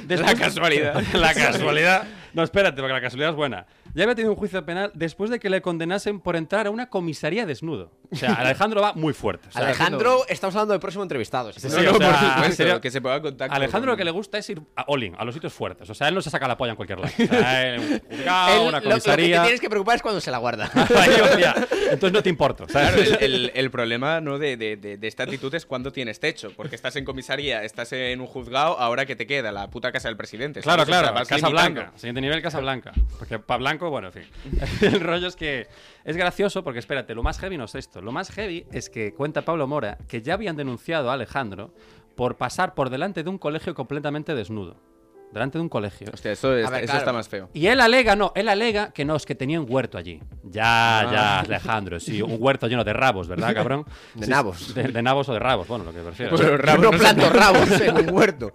La casualidad.
la casualidad. No, espérate, porque la casualidad es buena. Ya había tenido un juicio penal después de que le condenasen por entrar a una comisaría desnudo. O sea, Alejandro va muy fuerte. O sea,
Alejandro, estamos hablando del próximo entrevistado.
Sí,
si
sí,
quieres.
o sea, en serio,
que se ponga en contacto
Alejandro lo
con-
que le gusta es ir a all-in, a los sitios fuertes. O sea, él no se saca la polla en cualquier lado. O sea, él, un juzgado,
Él- lo- Lo, que
una
te
comisaría.
tienes que preocupar es cuando se la guarda.
Ahí, hostia, Entonces no te importo. ¿sabes?
Claro, el, el- el problema ¿no? de, de- de- de esta actitud es cuando tienes techo, porque estás en comisaría, estás en un juzgado, ahora que te queda la puta casa del presidente.
Claro,
¿sabes? O sea,
claro,
vas
Casa
limitando.
Blanca. Siguiente nivel, Casa Blanca. Porque para Blanco, bueno, en fin. El rollo es que es gracioso porque, espérate, lo más heavy no es esto. Lo más heavy es que cuenta Pablo Mora que ya habían denunciado a Alejandro por pasar por delante de un colegio completamente desnudo. Delante de un colegio.
Hostia, eso, es-
A ver,
eso
claro.
está más feo.
Y él alega, no, él alega que no, es que tenía un huerto allí. Ya,
Ah.
ya, Alejandro, sí, un huerto lleno de rabos, ¿verdad, cabrón?
De
Sí,
nabos.
De, de nabos o de rabos, bueno, lo que prefieras.
Pero rabos Yo no no planto son- rabos en un huerto.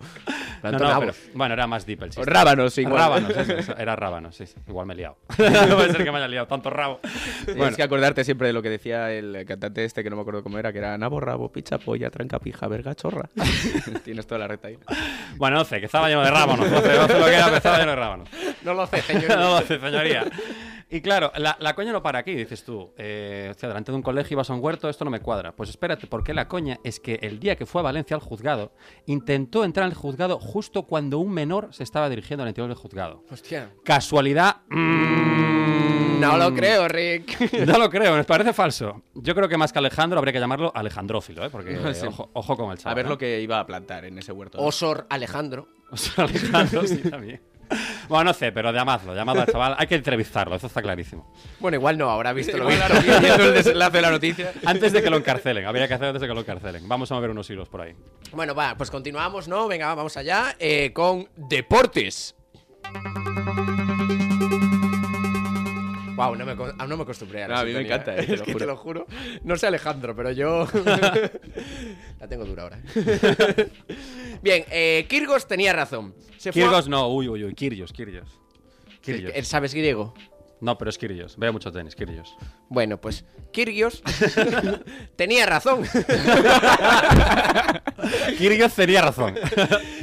Planto nabos.
bueno, era más deep el chiste.
Rábanos, igual.
Rábanos, eso, eso, era rábanos, sí, sí. Igual me he liado. no puede ser que me haya liado tanto rabo.
Tienes que acordarte siempre de lo que decía el cantante este, que no me acuerdo cómo era, que era nabo, rabo, picha, polla, tranca, pija, verga, chorra. Tienes toda la recta ahí.
Bueno, 11, que estaba lleno de rábanos. 11, 11 lo que era, pero estaba lleno de rábanos.
No lo sé, señoría.
no lo sé, señoría. Y claro, la, la coña no para aquí, dices tú. Eh, hostia, delante de un colegio ibas a un huerto, esto no me cuadra. Pues espérate, porque la coña es que el día que fue a Valencia al juzgado, intentó entrar al juzgado justo cuando un menor se estaba dirigiendo al interior del juzgado.
Hostia.
Casualidad. mm,
No lo creo, Rick.
No lo creo, me parece falso. Yo creo que más que Alejandro habría que llamarlo Alejandrófilo, ¿eh? porque eh,
Sí.
ojo, ojo con el chaval.
A ver
¿eh?
lo que iba a plantar en ese huerto.
Osor Alejandro.
Osor Alejandro, sí, también. Bueno, no sé, pero llamadlo, llamadlo al chaval. Hay que entrevistarlo, eso está clarísimo.
Bueno, igual no, habrá visto lo
Igual
visto.
ahora viendo el desenlace de la noticia.
Antes de que lo encarcelen, habría que hacer antes de que lo encarcelen. Vamos a mover unos hilos por ahí.
Bueno, va, pues continuamos, ¿no? Venga, vamos allá eh, con deportes. Wow, no me, co- aún no me acostumbré a la
No, a mí me
sintonía,
encanta, eh, te
es
lo
que te
juro.
lo juro. No sé Alejandro, pero yo la tengo dura ahora. Bien, eh, Kirgos tenía razón. Se fue a-
Kirgos no, uy, uy, uy, Kirgios, Kirgios. Kirgios.
Eh, ¿Sabes griego?
No, pero es Kirgios. Veo mucho tenis, Kirgios.
Bueno, pues Kirgios tenía razón.
Kirgios tenía razón.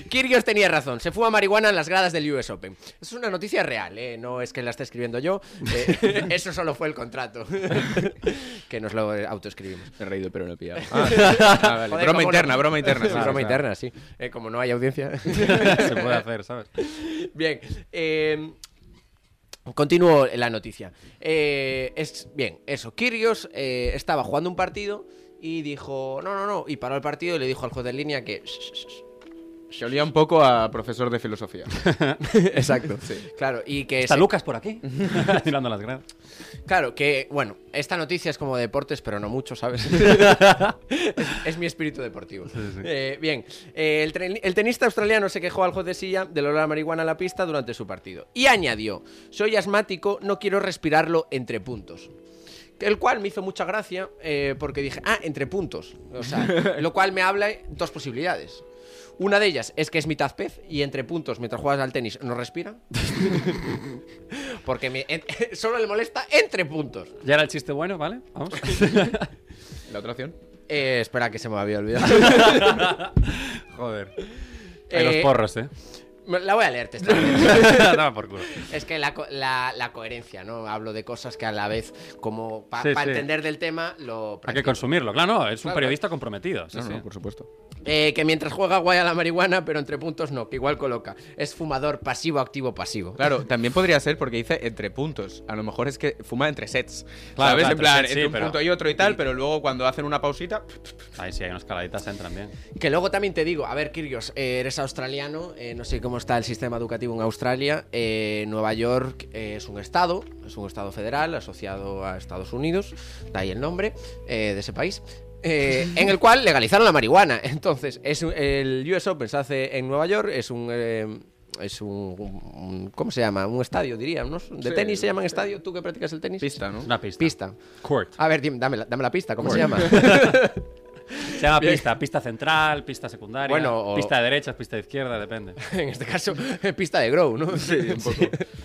Kirgios tenía razón, se fuma marihuana en las gradas del US Open. Eso es una noticia real, ¿eh? no es que la esté escribiendo yo. eh, eso solo fue el contrato. que nos lo eh, autoescribimos.
Me he reído, pero no he pillado. Ah, ah, vale.
Joder,
broma
cómo no. Ah,
interna, broma interna.
Sí,
sí,
broma
sí.
interna, sí. Eh, como no hay audiencia.
Se puede hacer, ¿sabes?
Bien. eh, continúo la noticia. Eh, es, bien, eso. Kirgios eh, estaba jugando un partido y dijo, no, no, no. Y paró el partido y le dijo al juez de línea que...
Se olía un poco a profesor de filosofía.
Exacto.
Sí.
Claro, y que...
Está
se-
Lucas por aquí, tirando las gradas.
Claro, que, bueno, esta noticia es como deportes, pero no mucho, ¿sabes? es, es mi espíritu deportivo. Eh, bien, eh, el, tren- el tenista australiano se quejó al juez de silla del olor a marihuana en la pista durante su partido. Y añadió, soy asmático, no quiero respirarlo entre puntos. El cual me hizo mucha gracia eh, porque dije, ah, entre puntos. O sea, lo cual me habla de dos posibilidades. Una de ellas es que es mitad pez y entre puntos, mientras juegas al tenis, no respira. Porque me- en- solo le molesta entre puntos.
Ya era el chiste bueno, ¿vale? Vamos.
¿La otra opción?
Eh, espera, que se me había olvidado.
Joder.
Eh,
los porros, ¿eh?
La voy a leer, te estoy leyendo.
Dame por culo.
Es que la, co- la- la coherencia, ¿no? Hablo de cosas que a la vez, como para
Sí, sí.
entender del tema, lo
Hay que
practico.
consumirlo, claro, no, es un
Claro.
periodista comprometido. Sí,
No,
sí.
no, por supuesto.
Eh, que mientras juega guay a la marihuana, pero entre puntos no, que igual coloca. Es fumador pasivo, activo, pasivo.
Claro, también podría ser porque dice entre puntos. A lo mejor es que fuma entre sets.
Claro,
¿Sabes?
claro,
en plan,
entre sets,
entre
sí,
un
pero-
punto y otro y tal, pero luego cuando hacen una pausita.
Ahí sí, hay unas caladitas, entran bien.
Que luego también te digo, a ver, Kirgios, eh, eres australiano, eh, no sé cómo está el sistema educativo en Australia. eh, Nueva York eh, es un estado, es un estado federal asociado a Estados Unidos, de ahí el nombre eh, de ese país. eh, en el cual legalizaron la marihuana. Entonces, es un- el US Open se hace en Nueva York, es un. eh, es un, un- ¿Cómo se llama? Un estadio, diría. ¿no? ¿De
Sí,
tenis se llaman
sí.
estadio? ¿Tú que practicas el tenis?
Pista, ¿no?
Una pista.
Pista.
Court.
A ver, dime, dame, la, dame la pista, ¿cómo se llama?
Court. Se llama pista, pista central, pista secundaria,
Bueno, o-
pista de derechas, pista de izquierda, depende.
en este caso, pista de grow, ¿no? Sí, un poco.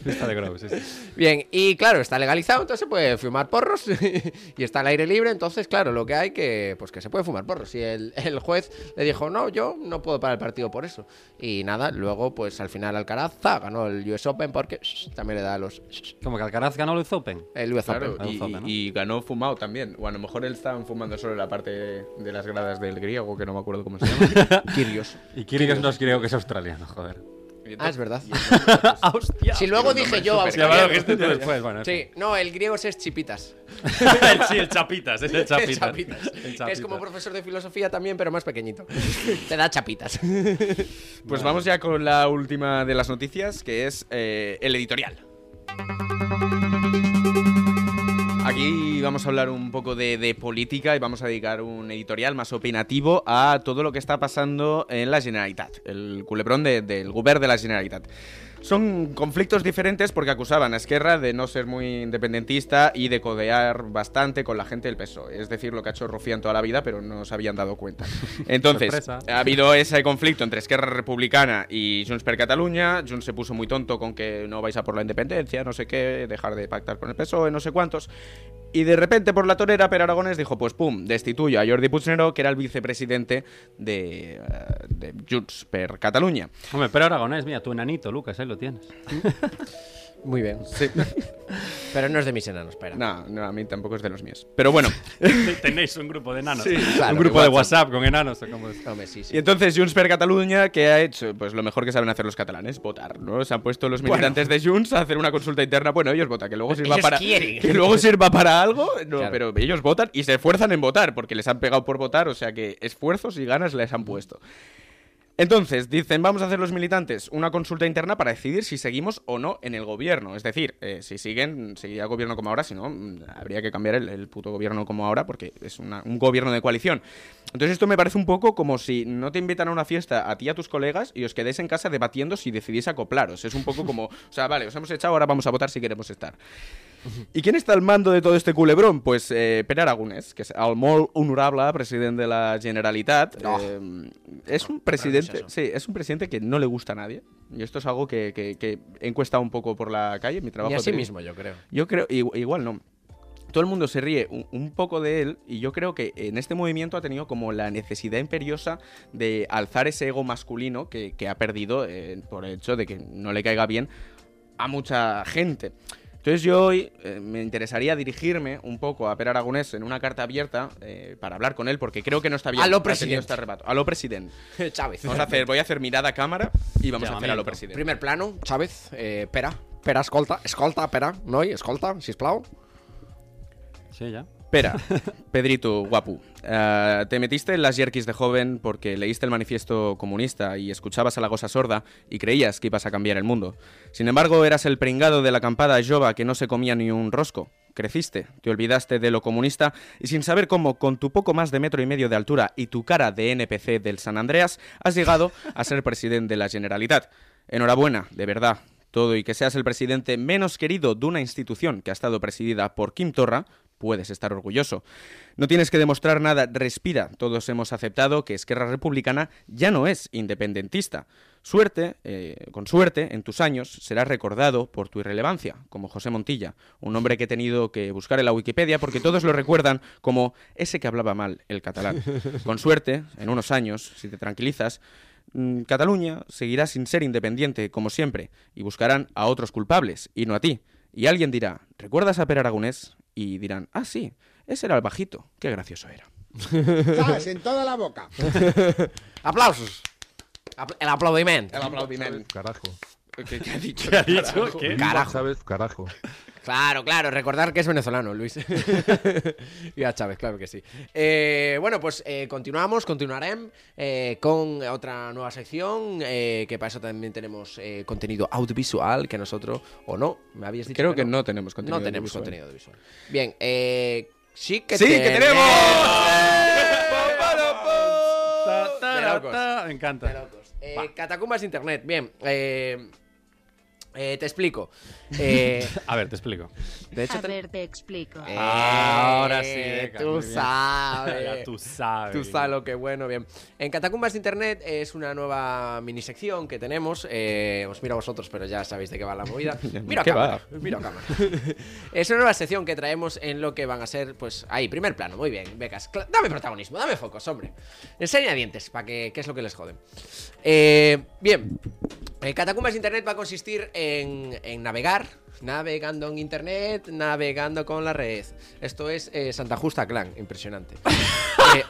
Pista de Grove, sí, sí.
Bien, y claro, está legalizado, entonces se puede fumar porros y está al aire libre, entonces claro, lo que hay que, pues que se puede fumar porros. Y el, el juez le dijo, no, yo no puedo parar el partido por eso. Y nada, luego pues al final Alcaraz za, ganó el US Open porque shh, también le da a los... shh,
Como que Alcaraz ganó el US Open.
el US
Claro,
Open.
y,
Zope, ¿no?
y ganó fumado también. O a lo mejor él estaban fumando solo la parte de, de las gradas del griego, que no me acuerdo cómo se llama. Kirios.
Y Kyrgios no creo que es australiano, joder.
Ah, es verdad.
¡Ah, hostia!
Si luego dije yo,
Sí, bueno, que este tú
australiano.
después, bueno. en fin.
Sí, no, el griego ese es chipitas.
el, sí, el chapitas, es el chapitas.
El chapitas.
El
Que Es
chapitas.
como profesor de filosofía también, pero más pequeñito. Te da chapitas.
Pues vamos ya con la última de las noticias, que es eh, el editorial. Aquí vamos a hablar un poco de, de política y vamos a dedicar un editorial más opinativo a todo lo que está pasando en la Generalitat, el culebrón de- del govern de la Generalitat. Son conflictos diferentes porque acusaban a Esquerra de no ser muy independentista y de codear bastante con la gente del PSOE. E. Es decir, lo que ha hecho Rufián toda la vida, pero no se habían dado cuenta. Entonces,
Sorpresa.
ha habido ese conflicto entre Esquerra Republicana y Junts per Catalunya. Junts se puso muy tonto con que no vais a por la independencia, no sé qué, dejar de pactar con el PSOE, E, no sé cuántos. Y de repente, por la torera, Per Aragones dijo, pues pum, destituyo a Jordi Puigneró, que era el vicepresidente de, eh, de Junts per Catalunya.
Hombre, pero Aragonés, mira, tu enanito, Lucas, ahí lo tienes.
Muy bien. Pero no es de mis enanos, espera.
No, no, a mí tampoco es de los míos. Pero bueno.
Tenéis un grupo de enanos.
Sí, claro,
un grupo de
de
WhatsApp con enanos, o cómo es.
Hombre, sí, sí.
Y entonces Junts per Catalunya, ¿qué ha hecho? Pues lo mejor que saben hacer los catalanes, votar, ¿no? Se han puesto los militantes de Junts a hacer una consulta interna. Bueno, ellos votan, que luego sirva
Ellos
para
quieren.
que luego sirva para algo, no,
Claro.
pero ellos votan y se esfuerzan en votar porque les han pegado por votar, o sea que esfuerzos y ganas les han puesto. Entonces, dicen, vamos a hacer los militantes una consulta interna para decidir si seguimos o no en el gobierno. Es decir, eh, si siguen, seguirá el gobierno como ahora, si no, mm, habría que cambiar el, el puto gobierno como ahora porque es una- un gobierno de coalición. Entonces, esto me parece un poco como si no te invitan a una fiesta a ti y a tus colegas y os quedéis en casa debatiendo si decidís acoplaros. Es un poco como, o sea, vale, os hemos echado, ahora vamos a votar si queremos estar. ¿Y quién está al mando de todo este culebrón? Pues eh, Pere Aragonès, que es el molt honorable presidente de la Generalitat. Eh, es un presidente, sí, es un presidente que no le gusta a nadie. Y esto es algo que, que- que he encuestado un poco por la calle, en mi trabajo.
Ni a sí
periodista.
mismo, yo creo.
Yo creo, igu- igual, no. Todo el mundo se ríe un, un poco de él y yo creo que en este movimiento ha tenido como la necesidad imperiosa de alzar ese ego masculino que, que ha perdido eh, por el hecho de que no le caiga bien a mucha gente. Entonces yo hoy eh, me interesaría dirigirme un poco a Per Aragonés en una carta abierta eh, para hablar con él porque creo que no está bien.
A lo
ha tenido
presidente.
este arrebato. A lo presidente.
Chávez.
Vamos a hacer, voy a hacer mirada a cámara y vamos a hacer a lo
Llamamiento.
presidente.
Primer plano, Chávez, eh, pera. Pera, escolta, escolta, pera. Noi, escolta, sisplau.
Sí, ya.
Pera, Pedrito, guapu, eh, te metiste en las yerkis de joven porque leíste el manifiesto comunista y escuchabas a la gosa sorda y creías que ibas a cambiar el mundo. Sin embargo, eras el pringado de la acampada jova que no se comía ni un rosco. Creciste, te olvidaste de lo comunista y sin saber cómo, con tu poco más de metro y medio de altura y tu cara de NPC del San Andreas, has llegado a ser presidente de la Generalitat. Enhorabuena, de verdad. Todo y que seas el presidente menos querido de una institución que ha estado presidida por Kim Torra, puedes estar orgulloso. No tienes que demostrar nada, respira. Todos hemos aceptado que Esquerra Republicana ya no es independentista. Suerte, eh, con suerte, en tus años serás recordado por tu irrelevancia, como José Montilla, un hombre que he tenido que buscar en la Wikipedia porque todos lo recuerdan como ese que hablaba mal el catalán. Con suerte, en unos años, si te tranquilizas, Mm, Cataluña seguirá sin ser independiente, como siempre, y buscarán a otros culpables, y no a ti. Y alguien dirá, ¿recuerdas a Per Aragonés? Y dirán, ah, sí, ese era el bajito, qué gracioso era.
Sabes, en toda la boca.
Aplausos. Apl- el aplaudimiento.
El aplaudimiento.
Carajo.
¿Qué, ha dicho?
¿Qué ha dicho? ¿Qué? Carajo.
Chávez, carajo.
Claro, claro, recordar que es venezolano, Luis. y a Chávez, claro que sí. Eh, bueno, pues eh, continuamos, continuaremos eh, con otra nueva sección, eh, que para eso también tenemos eh, contenido audiovisual, que nosotros, o no, me habías dicho.
Creo que no tenemos contenido
No tenemos
audiovisual.
contenido audiovisual. Bien, eh, sí que
¡Sí, que tenemos!
De locos.
Me encanta.
Eh, Catacumbas Internet, bien. eh, eh, te explico. Eh,
A ver, te explico.
de hecho,
A ver, te explico.
Eh,
Ahora sí, Deca, muy
Tú
bien.
sabes.
Ya tú sabes.
Tú sabes lo que bueno, bien. En Catacumbas de Internet es una nueva minisección que tenemos. Eh, os miro a vosotros, pero ya sabéis de qué va la movida. Miro a
¿Qué
cámara.
va?
Miro a cámara. es una nueva sección que traemos en lo que van a ser, pues, ahí, primer plano. Muy bien, becas. Cla- Dame protagonismo, dame focos, hombre. Enseña dientes, para que, qué es lo que les joden. Eh, bien. Eh, Catacumbas de Internet va a consistir en, en navegar, navegando en Internet, navegando con la red. Esto es eh, Santa Justa Clan, impresionante. Eh,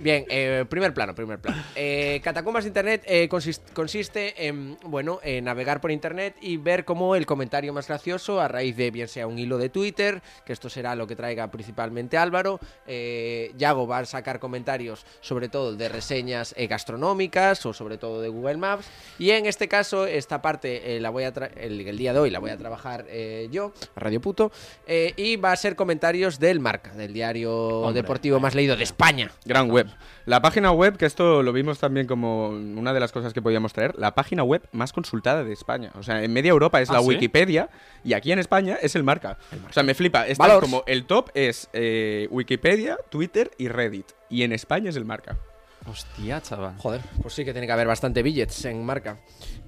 bien, eh, primer plano, primer plano. Eh, Catacumbas de Internet eh, consist- consiste en, bueno, eh, navegar por Internet y ver cómo el comentario más gracioso, a raíz de bien sea un hilo de Twitter, que esto será lo que traiga principalmente Álvaro, eh, Yago va a sacar comentarios sobre todo de reseñas eh, gastronómicas o sobre todo de Google Maps. Y en este caso, esta parte eh, la voy a tra- el, el día de hoy la voy a trabajar eh, yo, a Radio Puto, eh, y va a ser comentarios del Marca, del diario deportivo más leído de España.
Gran web. La página web, que esto lo vimos también como una de las cosas que podíamos traer, la página web más consultada de España. O sea, en media Europa es
¿Ah,
la
sí?
Wikipedia y aquí en España es el marca. O sea, me flipa. Es
Valors.
como el top es eh, Wikipedia, Twitter y Reddit. Y en España es el marca.
Hostia, chaval.
Joder, pues sí que tiene que haber bastante billets en marca.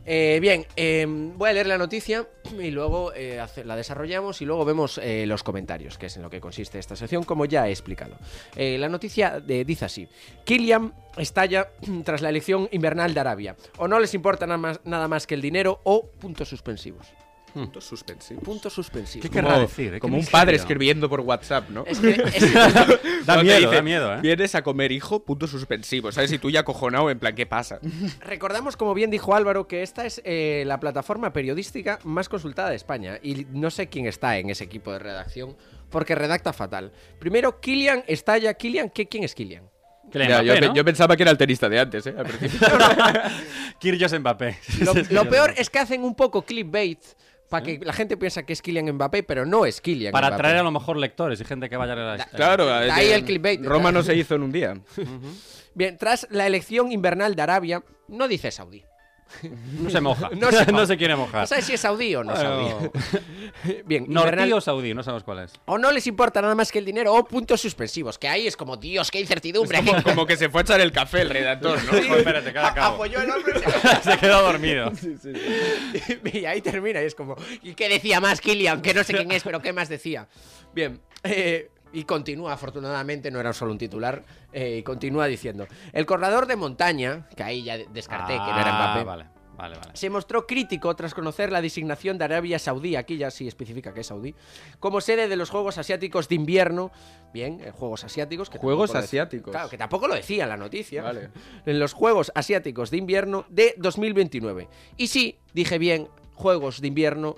Eh, bien, eh, voy a leer la noticia y luego eh, hace- la desarrollamos y luego vemos eh, los comentarios, que es en lo que consiste esta sección, como ya he explicado. Eh, la noticia eh, dice así: Kylian estalla tras la elección invernal de Arabia. O no les importa nada más, nada más que el dinero o puntos suspensivos.
Hmm.
Puntos suspensivos.
Puntos suspensivos.
Como-
eh,
Como un padre escribiendo por WhatsApp, ¿no?
Es que- es-
Cuando
Da
te
miedo, da miedo, ¿eh?
Vienes a comer hijo, puntos suspensivos. ¿Sabes? Y tú ya acojonado, en plan, ¿qué pasa?
Recordamos, como bien dijo Álvaro, que esta es eh, la plataforma periodística más consultada de España. Y no sé quién está en ese equipo de redacción, porque redacta fatal. Primero, Kilian estalla. Kilian, ¿qué, ¿quién es Kilian?
Ya, yo, pe- yo pensaba que era el tenista de antes, ¿eh? Al principio.
Kyrgios Mbappé.
Lo, lo peor es que hacen un poco clickbait para que la gente piensa que es Kylian Mbappé, pero no es Kylian
Para
Mbappé.
atraer a lo mejor lectores y gente que vaya a leer la
Claro,
De
es
ahí
que
el clickbait.
Roma no se hizo en un día.
Bien, tras la elección invernal de Arabia, no dice Saudí.
No se moja.
No se,
No se quiere mojar.
No sabe si es Saudí o no es
Bueno.
Saudí. Bien,
Nortí
invernal-
o Saudí, no sabemos cuál es.
O no les importa nada más que el dinero o puntos suspensivos, que ahí es como, Dios, qué incertidumbre.
Como, como que se fue a echar el café el redactor, ¿no?
Joder, espérate, que ahora acabo.
Apoyó el hombre
se quedó dormido.
y ahí termina y es como, ¿y qué decía más Killian? Que no sé quién es, pero ¿qué más decía? Bien, eh, y continúa, afortunadamente no era solo un titular, eh, y continúa diciendo, el corredor de montaña, que ahí ya descarté que no era
Ah,
Mbappé,
Vale, vale, vale.
se mostró crítico tras conocer la designación de Arabia Saudí, aquí ya sí especifica que es Saudí, como sede de los Juegos Asiáticos de Invierno. Bien, eh, Juegos Asiáticos. que
Juegos
tampoco lo dec-
Asiáticos.
Claro, que tampoco lo decía en la noticia.
Vale.
En los Juegos Asiáticos de Invierno de 2029. Y sí, dije bien, Juegos de Invierno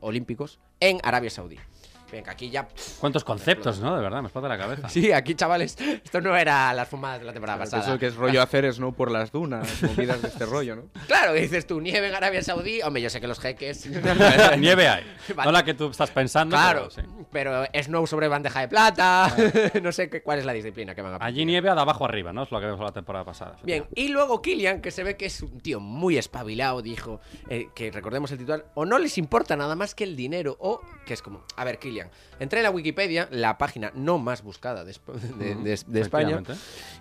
Olímpicos en Arabia Saudí. Bien, que aquí ya... pff,
¿Cuántos conceptos, no? De verdad, me explota la cabeza.
Sí, aquí chavales, esto no era las fumadas de la temporada
Claro, que
pasada.
Eso que es rollo hacer snow por las dunas, movidas de este rollo, ¿no?
Claro, que dices tú, nieve en Arabia Saudí. Hombre, yo sé que los jeques...
Nieve hay.
Vale.
No la que tú estás pensando.
Claro,
pero sí.
pero Snow sobre bandeja de plata. no sé qué- cuál es la disciplina que van a
Allí nieve a de abajo arriba, ¿no? Es lo que vemos la temporada pasada.
Pues
Bien, y luego Killian, que se ve que es un tío muy espabilado, dijo eh, que recordemos el titular, o no les importa nada más que el dinero, o que es como, a ver, Killian, entré en la Wikipedia, la página
Mm,
no más buscada de, Esp- de- de- de España,
efectivamente.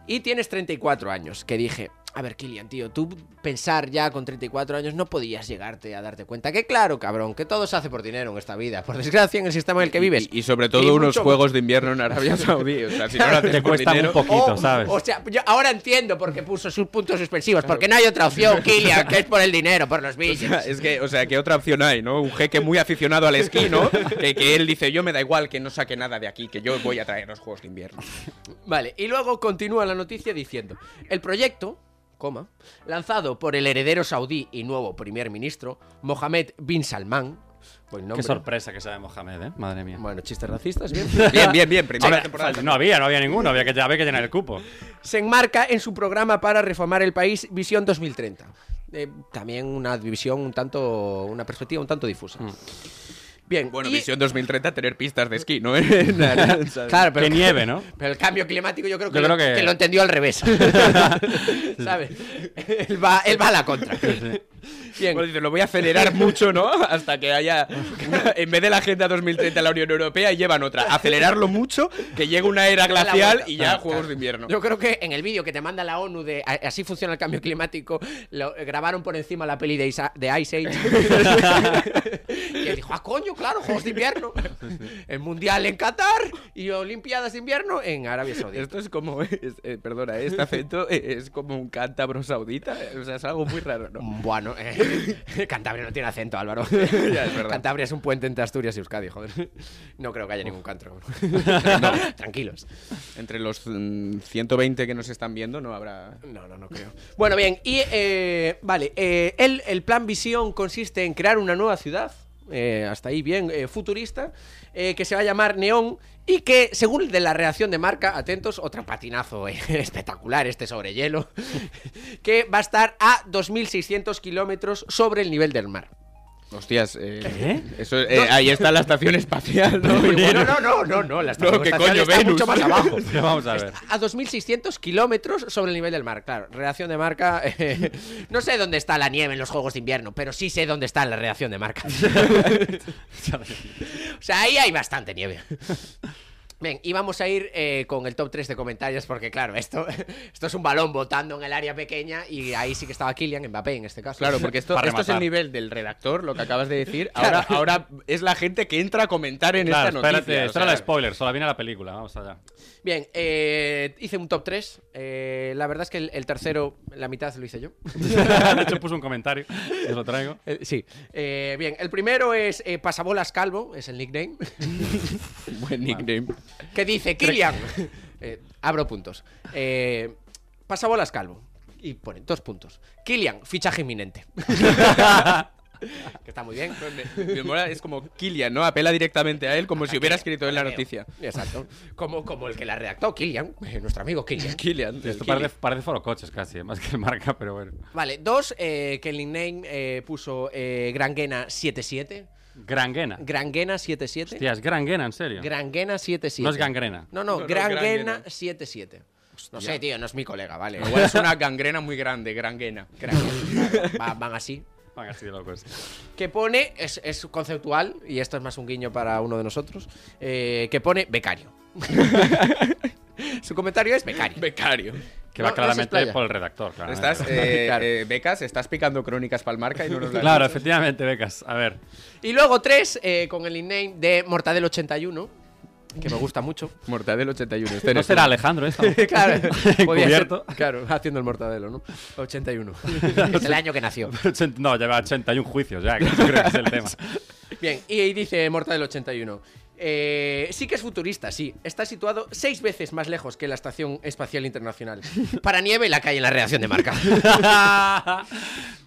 y tienes 34 años, que dije, A ver, Kilian, tío, tú pensar ya con 34 años no podías llegarte a darte cuenta que, claro, cabrón, que todo se hace por dinero en esta vida. Por desgracia, en el sistema en el que vives.
Y, y sobre todo unos
mucho-
juegos de invierno en Arabia Saudí. O sea, si no lo haces
Te
por
cuestan un
dinero-
poquito,
Oh,
¿sabes?
O sea, yo ahora entiendo por qué puso sus puntos suspensivos, porque no hay otra opción, Kilian, que es por el dinero, por los
O sea,
billetes.
es que, o sea, ¿qué otra opción hay, no? Un jeque muy aficionado al esquí, ¿no? Que, que él dice, yo me da igual que no saque nada de aquí, que yo voy a traer los juegos de invierno.
Vale, y luego continúa la noticia diciendo, el proyecto, coma, lanzado por el heredero saudí y nuevo primer ministro, Mohamed bin Salman, buen nombre.
Qué sorpresa que sabe Mohamed, ¿eh? Madre mía.
Bueno, chistes racistas, bien.
Bien, bien, bien, primera
Ahora,
temporada.
falta- No había, no había ninguno, había que, había que llenar el cupo.
se enmarca en su programa para reformar el país Visión 2030. Eh, también una visión un tanto, una perspectiva un tanto difusa.
Mm.
Bien,
Bueno,
y-
visión 2030, tener pistas de esquí, ¿no? claro,
Claro, pero-
Que nieve, ¿no?
Pero el cambio climático yo creo que,
Yo
lo,
creo que-
que lo entendió al revés. ¿Sabes? Él va, él va a la contra. Bien.
lo voy a acelerar mucho, ¿no? Hasta que haya. en vez de la Agenda 2030 de la Unión Europea, llevan otra. Acelerarlo mucho, que llegue una era
Da la
glacial
vuelta.
y ya
Claro,
juegos
claro.
de invierno.
Yo creo que en el vídeo que te manda la ONU de "A- así funciona el cambio climático, lo eh, grabaron por encima la peli de, Isa- de Ice Age. y él dijo, ah, coño, claro, Juegos de Invierno. El Mundial en Qatar y Olimpiadas de Invierno en Arabia Saudita.
Esto es como. es- eh, perdona, ¿eh? este acento eh, es como un cántabro saudita. eh, O sea, es algo muy raro, ¿no?
Mm, Bueno, eh, Cantabria no tiene acento, Álvaro.
es verdad.
Cantabria es un puente entre Asturias y Euskadi, joder. No creo que haya ningún cantro. Tranquilos.
Entre los mm, 120 que nos están viendo, no habrá.
No, no, no creo. Bueno, bien, y eh, vale, eh, el, el plan visión consiste en crear una nueva ciudad, eh, hasta ahí bien, eh, futurista, eh, que se va a llamar Neón y que, según de la reacción de marca, atentos, otro patinazo eh, espectacular este sobre hielo, que va a estar a 2.600 kilómetros sobre el nivel del mar.
Hostias, eh,
¿Qué?
Eso, eh, ahí está la estación espacial, ¿no?
No,
Igual-
no, no, no, no, no, la estación
No, ¿qué
espacial
coño,
está
Venus?
mucho más abajo.
Pero vamos a ver.
A 2.600 kilómetros sobre el nivel del mar, claro. Reacción de marca. eh, no sé dónde está la nieve en los Juegos de Invierno, pero sí sé dónde está la reacción de marca. o sea, ahí hay bastante nieve. Bien, y vamos a ir eh, con el top 3 de comentarios, porque claro, esto, esto es un balón botando en el área pequeña y ahí sí que estaba Kylian Mbappé en este caso.
Claro, porque esto,
Para
esto es el
rematar.
nivel del redactor, lo que acabas de decir. Ahora, ahora es la gente que entra a comentar en
Claro,
esta noticia.
espérate,
o
esto
sea,
era el spoiler, solo viene la película, vamos allá.
Bien, eh, hice un top 3. la verdad es que el, el tercero, la mitad lo hice yo.
De hecho, puse un comentario, os lo traigo.
Eh, sí. Eh, bien, el primero es eh, Pasabolas Calvo, es el nickname,
Buen nickname.
que dice, Kilian, eh, abro puntos, eh, Pasabolas Calvo, y ponen dos puntos, Kilian, fichaje inminente. que está muy bien.
Me mola, es como Kilian, ¿no? Apela directamente a él como si hubiera escrito en la noticia.
Exacto. Como, como el que la redactó, Kilian, eh, nuestro amigo Kilian.
Kilian. el
Esto
Kilian.
parece, parece foro coches casi, eh, más que el marca, pero bueno.
Vale, dos, eh, que el nickname eh, puso eh, Granguena 77,
Granguena.
Granguena 77,
Hostia, es Granguena, en serio.
Granguena 77.
No es gangrena.
No, no,
No, no,
Granguena
Granguena.
77. No sé, tío, no es mi colega, vale.
Igual es una gangrena muy grande, granguena.
Va- van así.
Van así de locos.
Que pone, es, es conceptual, y esto es más un guiño para uno de nosotros, eh, que pone becario. Su comentario es becario.
Becario.
Que
No,
va
no se
claramente
explaya.
por el redactor, claro.
Estás, eh,
Claro.
eh, becas, estás picando crónicas para marca y no nos las
Claro,
dices.
efectivamente, becas. A ver.
Y luego tres, eh, con el nickname de Mortadel81, que me gusta mucho.
Mortadel 81. este
No
eres
será
tú.
Alejandro esto.
Claro, podía ser-
Encubierto.
claro, haciendo el mortadelo, ¿no? 81. es el año que nació.
No, lleva 81 juicios ya, que eso creo que es el tema.
Bien, y ahí dice Morta del 81. eh, sí que es futurista, sí. Está situado seis veces más lejos que la Estación Espacial Internacional. Para nieve la calle en la reacción de marca.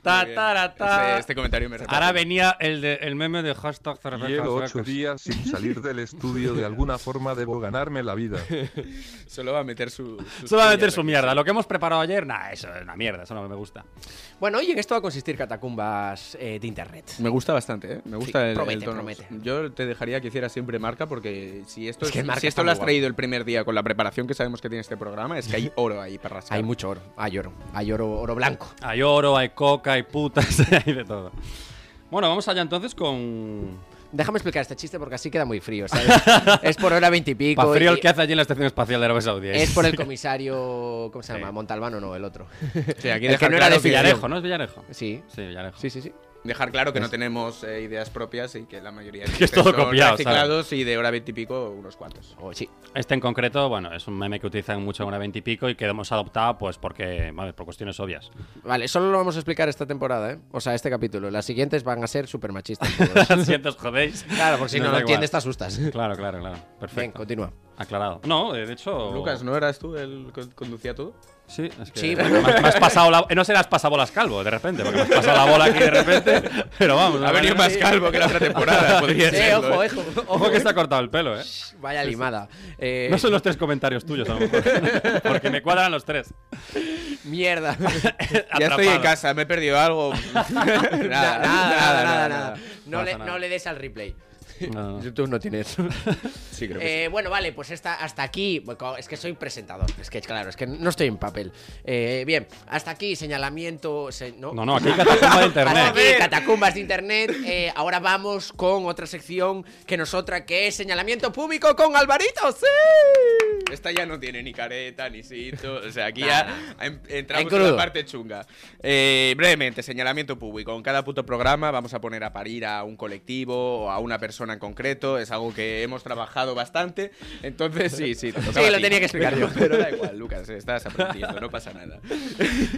Ta,
Muy bien.
ta, ra, ta.
Este, este comentario me reparó.
Ahora venía el, de- el meme de hashtag cervezas
Llevo ocho
suecas.
días sin salir del estudio. De alguna forma debo ganarme la vida.
Solo va a meter su. sus
Solo va a meter
cuñas
su
aquí.
mierda. Lo que hemos preparado ayer, nah, eso es una mierda, eso no me gusta.
bueno, y en esto va a consistir catacumbas eh, de internet.
Me gusta bastante, ¿eh? Me gusta
Sí,
el- el,
promete,
tono.
promete.
Yo te dejaría que hicieras siempre marca porque si esto,
Es que
es-
marca
si
está
esto
muy
lo has
guapo.
traído el primer día con la preparación que sabemos que tiene este programa, es que hay oro ahí para rascar.
Hay mucho oro, hay oro, hay oro, oro blanco.
Hay oro, hay coca, hay putas, hay de todo. Bueno, vamos allá entonces con.
Déjame explicar este chiste porque así queda muy frío, ¿sabes? es por hora 20 y pico.
Pa' frío el
y-
que hace allí en la Estación Espacial de Arabia Saudí. ¿eh?
Es por el comisario. ¿Cómo se llama? Montalbano, no, el otro.
Sí, aquí
el
deja
que no
claro
era de
que-
ficción.
Villarejo,
¿no es Villarejo?
Sí.
Sí, Villarejo.
Sí, sí, sí.
Dejar claro que no
Es-
tenemos eh, ideas propias y que la mayoría de
Que es todo
chistes son
copiado, ¿sabes?
reciclados y de hora 20 y pico unos cuantos.
Oh, sí.
Este en concreto, bueno, es un meme que utilizan mucho en una 20 y pico y que hemos adoptado, pues, porque, vale, por cuestiones obvias.
Vale, solo lo vamos a explicar esta temporada, ¿eh? O sea, este capítulo. Las siguientes van a ser súper machistas.
si os jodéis.
Pues Claro, porque si
Nos
no
da
lo entiendes, te
igual.
asustas.
Claro, claro, claro. Perfecto.
Bien, continúa.
Aclarado. No, eh, de hecho.
Lucas, ¿no eras tú el que conducía todo?
Sí, es que
Sí,
me,
bueno.
me has pasado la, eh, no serás pasabolas calvo de repente, porque me has pasado la bola aquí de repente. Pero vamos,
Ha venido más calvo que la otra temporada, podría
Sí,
serlo,
ojo,
¿eh?
ojo, ojo,
Ojo que
eh.
se ha cortado el pelo, eh.
Vaya
Sí, sí.
limada. Eh,
No son los tres comentarios tuyos, a lo mejor. Porque me cuadran los tres.
Mierda.
Ya estoy en
Atrapado.
casa, me he perdido algo. nada, nada,
nada, nada, nada, nada. No,
Pasa
le,
nada.
no le des al replay.
No.
YouTube no tiene eso.
Sí, creo que
Eh, bueno, vale, pues esta- hasta aquí. bueno, co- Es que soy presentador. Es que, claro, es que no estoy en papel. Eh, bien, hasta aquí señalamiento. se- no,
No, no, aquí hay catacumba de internet.
Hasta aquí,
Joder.
catacumbas de internet. Eh, ahora vamos con otra sección que nosotras, que es señalamiento público con Alvarito. ¡Sí!
sí. Esta ya no tiene ni careta, ni sitio. O sea, aquí
Nada.
ya em- entramos
En
en,
crudo.
la parte chunga. Eh, brevemente, señalamiento público. En cada puto programa vamos a poner a parir a un colectivo o a una persona en concreto. Es algo que hemos trabajado bastante. Entonces, sí, sí. te tocaba
Sí,
a
lo
ti.
tenía que explicar yo.
Pero da igual, Lucas, estás aprendiendo, no pasa nada.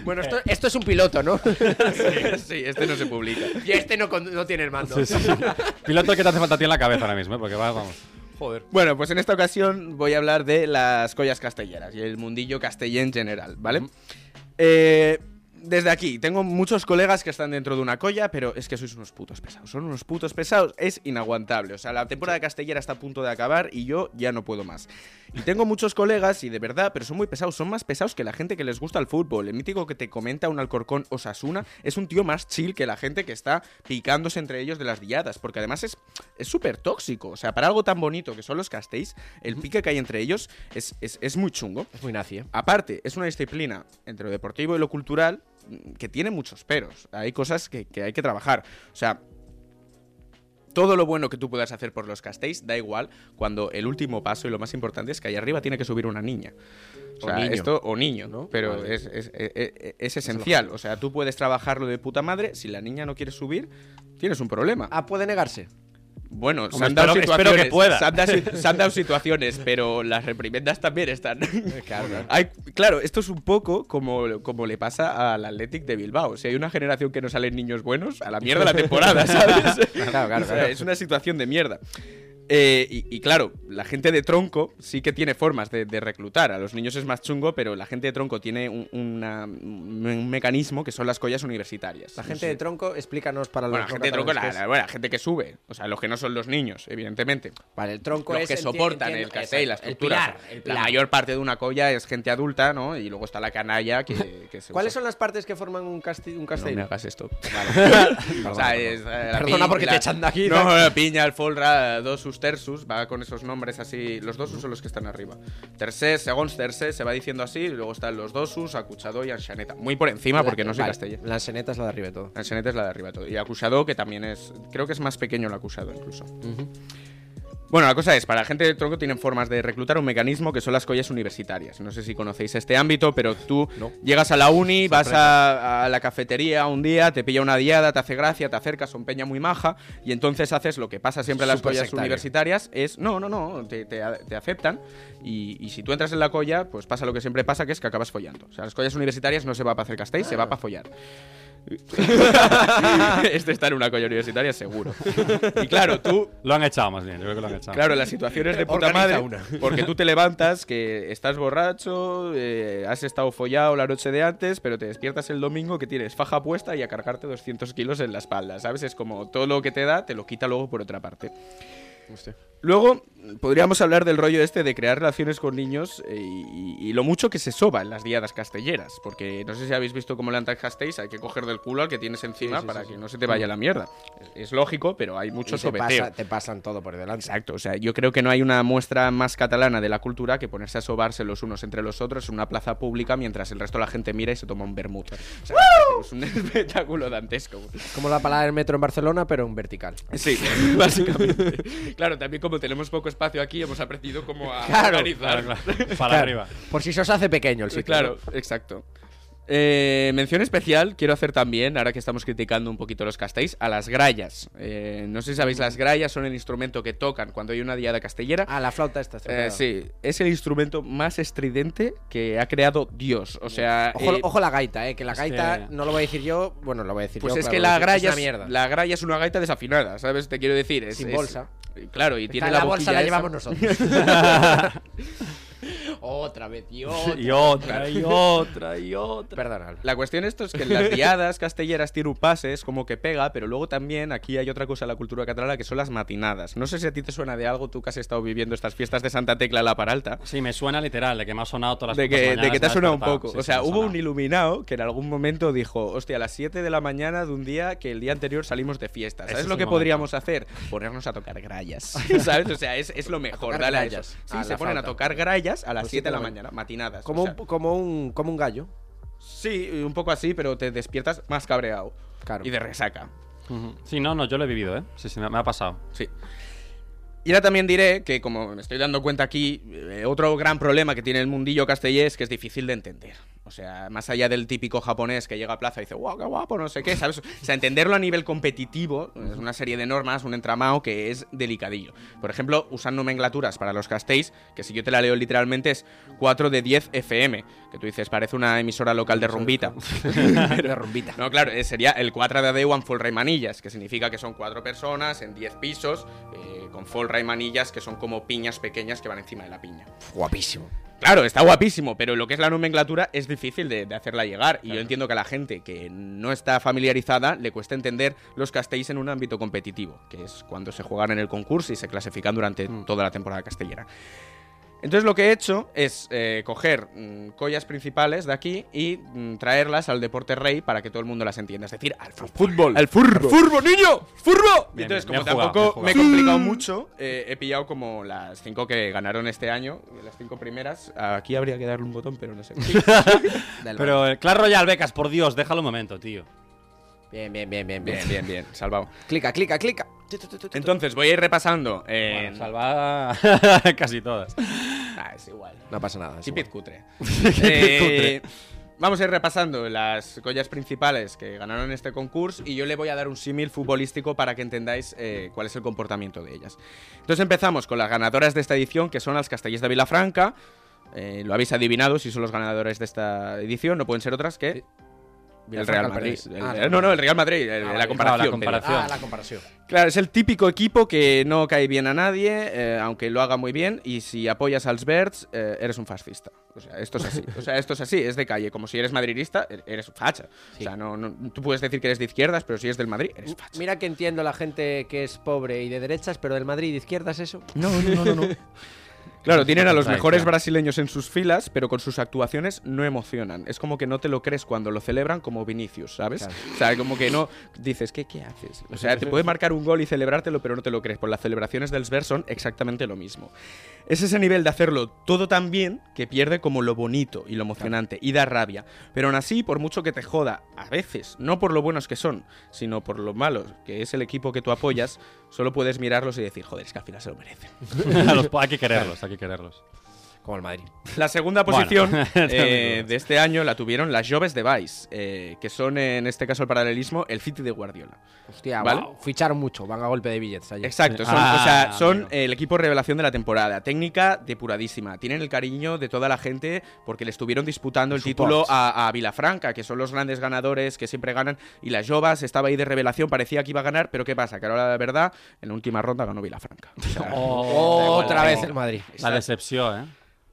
Bueno, esto, esto es un piloto, ¿no? Eh.
Sí, este no se publica.
y este no, con- no tiene el mando.
Sí, sí, sí. Piloto que te hace falta a ti en la cabeza ahora mismo, ¿eh? porque va, vamos.
Joder.
Bueno, pues en esta ocasión voy a hablar de las collas castelleras y el mundillo castellé en general, ¿vale? Eh, desde aquí, tengo muchos colegas que están dentro de una colla, pero es que sois unos putos pesados. Son unos putos pesados, es inaguantable. O sea, la temporada castellera está a punto de acabar y yo ya no puedo más. Y tengo muchos colegas, y de verdad, pero son muy pesados. Son más pesados que la gente que les gusta el fútbol. El mítico que te comenta un Alcorcón Osasuna es un tío más chill que la gente que está picándose entre ellos de las diadas. Porque además es es súper tóxico. O sea, para algo tan bonito que son los castells, el pique que hay entre ellos es, es, es muy chungo.
Es muy nazi, ¿eh?
Aparte, es una disciplina entre lo deportivo y lo cultural mm, que tiene muchos peros. Hay cosas que, que hay que trabajar. O sea, todo lo bueno que tú puedas hacer por los castells da igual cuando el último paso y lo más importante es que ahí arriba tiene que subir una niña. O,
O
sea,
niño.
esto o niño,
¿No?
pero
Vale.
es, es- e- e- e- es esencial. O sea, tú puedes trabajarlo de puta madre. Si la niña no quiere subir, tienes un problema.
Ah, puede negarse.
Bueno, se
Hombre,
han dado
espero- espero
situaciones.
que pueda.
Se han dado, si- se han dado situaciones, pero las reprimendas también están.
Claro.
Hay- Eh, claro, esto es un poco como, como le pasa al Athletic de Bilbao. Si hay una generación que no salen niños buenos, a la mierda la temporada, ¿sabes?
Claro, claro,
O sea,
claro.
Es una situación de mierda. Eh, y, y claro, la gente de tronco sí que tiene formas de, de reclutar. A los niños es más chungo, pero la gente de tronco tiene un, una- un mecanismo que son las collas universitarias.
La gente de tronco, explícanos para los
Bueno, la gente de tronco, la,
catalanes qué
la-
es.
bueno, la gente que sube. O sea, los que no son los niños, evidentemente.
Vale, el tronco
Los
es
que
enti-
soportan
entiendo-
el castell, la
exacto, el
estructura.
pilar, el pilar.
La mayor parte de una colla es gente adulta, ¿no? Y luego está la canalla que, que se
¿Cuáles
usa-
son las partes que forman un, casti- un
No
castell?
me hagas esto.
Perdona,
o sea,
perdona.
es, eh, la
Perdona
pi-
porque
la-
te echan de aquí.
No, la piña, el folra, dos sus tersus, va con esos nombres así. Los dosus son los que están arriba. Tercés, segons tercés, se va diciendo así. y Luego están los dosus, acuchado y anxaneta. Muy por encima porque no soy
Vale,
castellano.
La seneta es la de arriba de todo.
Anxaneta es la de arriba todo. Y acusado, que también es. Creo que es más pequeño el acusado, incluso. Bueno, la cosa es, para la gente de tronco tienen formas de reclutar un mecanismo que son las collas universitarias. No sé si conocéis este ámbito, pero tú llegas a la uni, vas a, a la cafetería un día, te pilla una diada, te hace gracia, te acercas, son peña muy maja, y entonces haces lo que pasa siempre en las
Súper
collas
sectario.
universitarias, es, no, no, no, te, te a- te aceptan, y, y si tú entras en la colla, pues pasa lo que siempre pasa, que es que acabas follando. O sea, las collas universitarias no se va para hacer castell, se va para follar. este está en una colla universitaria seguro. Y claro, tú
Lo han echado más bien, yo creo que lo han echado.
Claro, la situación es de puta
Eh, Organiza
madre. Porque tú te levantas, que estás borracho, eh, has estado follado la noche de antes, pero te despiertas el domingo que tienes faja puesta y a cargarte 200 kilos en la espalda, ¿sabes? Es como todo lo que te da, te lo quita luego por otra parte. Luego, podríamos hablar del rollo este de crear relaciones con niños eh, y, y lo mucho que se soba en las diadas castelleras. Porque no sé si habéis visto cómo levantan Castells, hay que coger del culo al que tienes encima
Sí, sí,
para
sí,
que
sí.
no se te vaya la mierda. Es lógico, pero hay mucho
Y te,
sobeteo.
pasa- te pasan todo por delante.
Exacto, o sea, yo creo que no hay una muestra más catalana de la cultura que ponerse a sobarse los unos entre los otros en una plaza pública mientras el resto de la gente mira y se toma un vermut. O sea, es un espectáculo dantesco.
Como la palabra del metro en Barcelona, pero en vertical.
Sí, básicamente. Claro, también como tenemos poco espacio aquí, hemos aprendido cómo a
Claro.
organizar.
Claro, claro. Para Claro. arriba. Por si se os hace pequeño el sitio,
Eh, Claro, exacto. Eh, mención especial quiero hacer también, ahora que estamos criticando un poquito los castéis, a las grayas. Eh, no sé si sabéis, las grayas son el instrumento que tocan cuando hay una diada castellera.
Ah, la flauta esta. estropeada.
Eh, sí, es el instrumento más estridente que ha creado Dios. O sea,
Ojo,
eh,
ojo la gaita, eh, que la
Hostia.
gaita no lo voy a decir yo, bueno, lo voy a decir
pues
yo.
es
claro,
que
lo
la
voy a decir,
gralla,
es una
es,
mierda.
la gralla es una gaita desafinada, ¿sabes? Te quiero decir. Es,
Sin
es-
bolsa.
Claro, y
Está
tiene
en
la,
la bolsa la
boquilla
llevamos
esa.
nosotros. otra vez, y otra.
Y otra, y otra,
y otra. Perdón,
La cuestión esto es que en las diadas castelleras tiene un pase, es como que pega, pero luego también aquí hay otra cosa en la cultura catalana que son las matinadas. No sé si a ti te suena de algo, tú que has estado viviendo estas fiestas de Santa Tecla la Paralta.
Sí, me suena literal, de que me ha sonado todas las
De
putas
que,
mañanas,
de que te
me
ha sonado un
despertado.
poco.
Sí,
o
sí, me
sea,
ha
hubo
sonado.
un iluminado que en algún momento dijo, hostia, a las 7 de la mañana de un día que el día anterior salimos de fiesta.
Ese
¿Sabes
es
lo
un
que
momento.
podríamos hacer? Ponernos a tocar grallas. ¿Sabes? O sea, es, es lo mejor.
tocar
dale a
grallas.
eso.
A
Sí, se
la
ponen a
flauta.
tocar grallas a las
Pues
7 de la
sí, pero-
mañana, matinadas.
Como,
O sea,
un, como, un, como un gallo.
Sí, un poco así, pero te despiertas más cabreado. Y de resaca.
Ujú. Sí, no, no, yo lo he vivido, ¿eh? Sí, sí, me me ha pasado.
Sí. Y ahora también diré que, como me estoy dando cuenta aquí, eh, otro gran problema que tiene el mundillo castellés es que es difícil de entender. O sea, más allá del típico japonés que llega a plaza y dice, wow, qué guapo, no sé qué, ¿sabes? O sea, entenderlo a nivel competitivo es una serie de normas, un entramado que es delicadillo. Por ejemplo, usan nomenclaturas para los castells, que si yo te la leo literalmente es 4 de 10 FM, que tú dices, parece una emisora local de rumbita. de rumbita. No, claro, eh, sería el 4 de Adeu en full rey manillas, que significa que son cuatro personas en 10 pisos, eh, con full rey manillas que son como piñas pequeñas que van encima de la piña.
Guapísimo.
Claro, está guapísimo, pero lo que es la nomenclatura es difícil de, de hacerla llegar. Y yo entiendo que a la gente que no está familiarizada le cuesta entender los castells en un ámbito competitivo, que es cuando se juegan en el concurso y se clasifican durante toda la temporada castellera. Entonces lo que he hecho es eh, coger mm, collas principales de aquí y mm, traerlas al deporte rey para que todo el mundo las entienda. Es decir, al fútbol. Al furbo. ¡Furbo, niño! ¡Furbo!
Bien,
Entonces,
bien,
como
bien jugado,
tampoco me he
bien jugado.
complicado mucho, eh, he pillado como las cinco que ganaron este año, las cinco primeras. Aquí habría que darle un botón, pero no sé.
Pero el Clash Royale, becas, por Dios, déjalo un momento, tío.
Bien, bien, bien, bien,
Bien, bien, bien, salvado.
Clica, clica, clica. Tu, tu, tu, tu, tu.
Entonces, voy a ir repasando. eh,
Salvada casi todas.
Ah, es igual.
No pasa nada. es
Chipit
igual.
cutre.
Chipit
Eh, Vamos a ir repasando las collas principales que ganaron este concurso y yo le voy a dar un símil futbolístico para que entendáis eh, cuál es el comportamiento de ellas. Entonces empezamos con las ganadoras de esta edición, que son las Castellers de Vilafranca. Eh, lo habéis adivinado, si son los ganadores de esta edición, no pueden ser otras que el
Vilafranca,
Real
el
Madrid.
Betis.
El-
Ah,
eh, no, no, el Real Madrid, el-
Ah,
la
vale.
comparación.
Ah, la comparación.
pero-
Ah, la comparación.
Claro, es el típico equipo que no cae bien a nadie, eh, aunque lo haga muy bien, y si apoyas a los Verds, eh, eres un fascista. O sea, esto es así. O sea, esto es así, es de calle. Como si eres madridista, e- eres facha. O sea, no, no- tú puedes decir que eres de izquierdas, pero si eres del Madrid, eres facha.
Mira que entiendo la gente que es pobre y de derechas, pero del Madrid y de izquierdas eso.
No, no, no, no. Claro, tienen a los
Contradicción.
mejores brasileños en sus filas, pero con sus actuaciones no emocionan. Es como que no te lo crees cuando lo celebran como Vinicius, ¿sabes?
Claro.
O sea, como que no dices, ¿qué, ¿qué haces? O sea, te puede marcar un gol y celebrártelo, pero no te lo crees. Por las celebraciones del Sver son exactamente lo mismo. Es ese nivel de hacerlo todo tan bien que pierde como lo bonito y lo emocionante y da rabia. Pero aún así, por mucho que te joda, a veces, no por lo buenos que son, sino por lo malos que es el equipo que tú apoyas, solo puedes mirarlos y decir, joder, es que al final se lo merecen.
A los po- hay que quererlos, hay que quererlos.
Como el Madrid.
La segunda posición
Bueno,
eh, de este año la tuvieron las Joves de Vice, eh, que son en este caso el paralelismo, el City de Guardiola.
Hostia,
¿Vale?
wow, ficharon mucho, van a golpe de billetes allí.
Exacto, son, o sea, son el equipo revelación de la temporada. Técnica depuradísima. Tienen el cariño de toda la gente porque le estuvieron disputando el título a, a Vilafranca, que son los grandes ganadores que siempre ganan. Y las Jovas estaba ahí de revelación, parecía que iba a ganar, pero ¿qué pasa? Que ahora la verdad, en la última ronda ganó Vilafranca. O sea, oh,
otra vez el Madrid.
La decepción, ¿eh?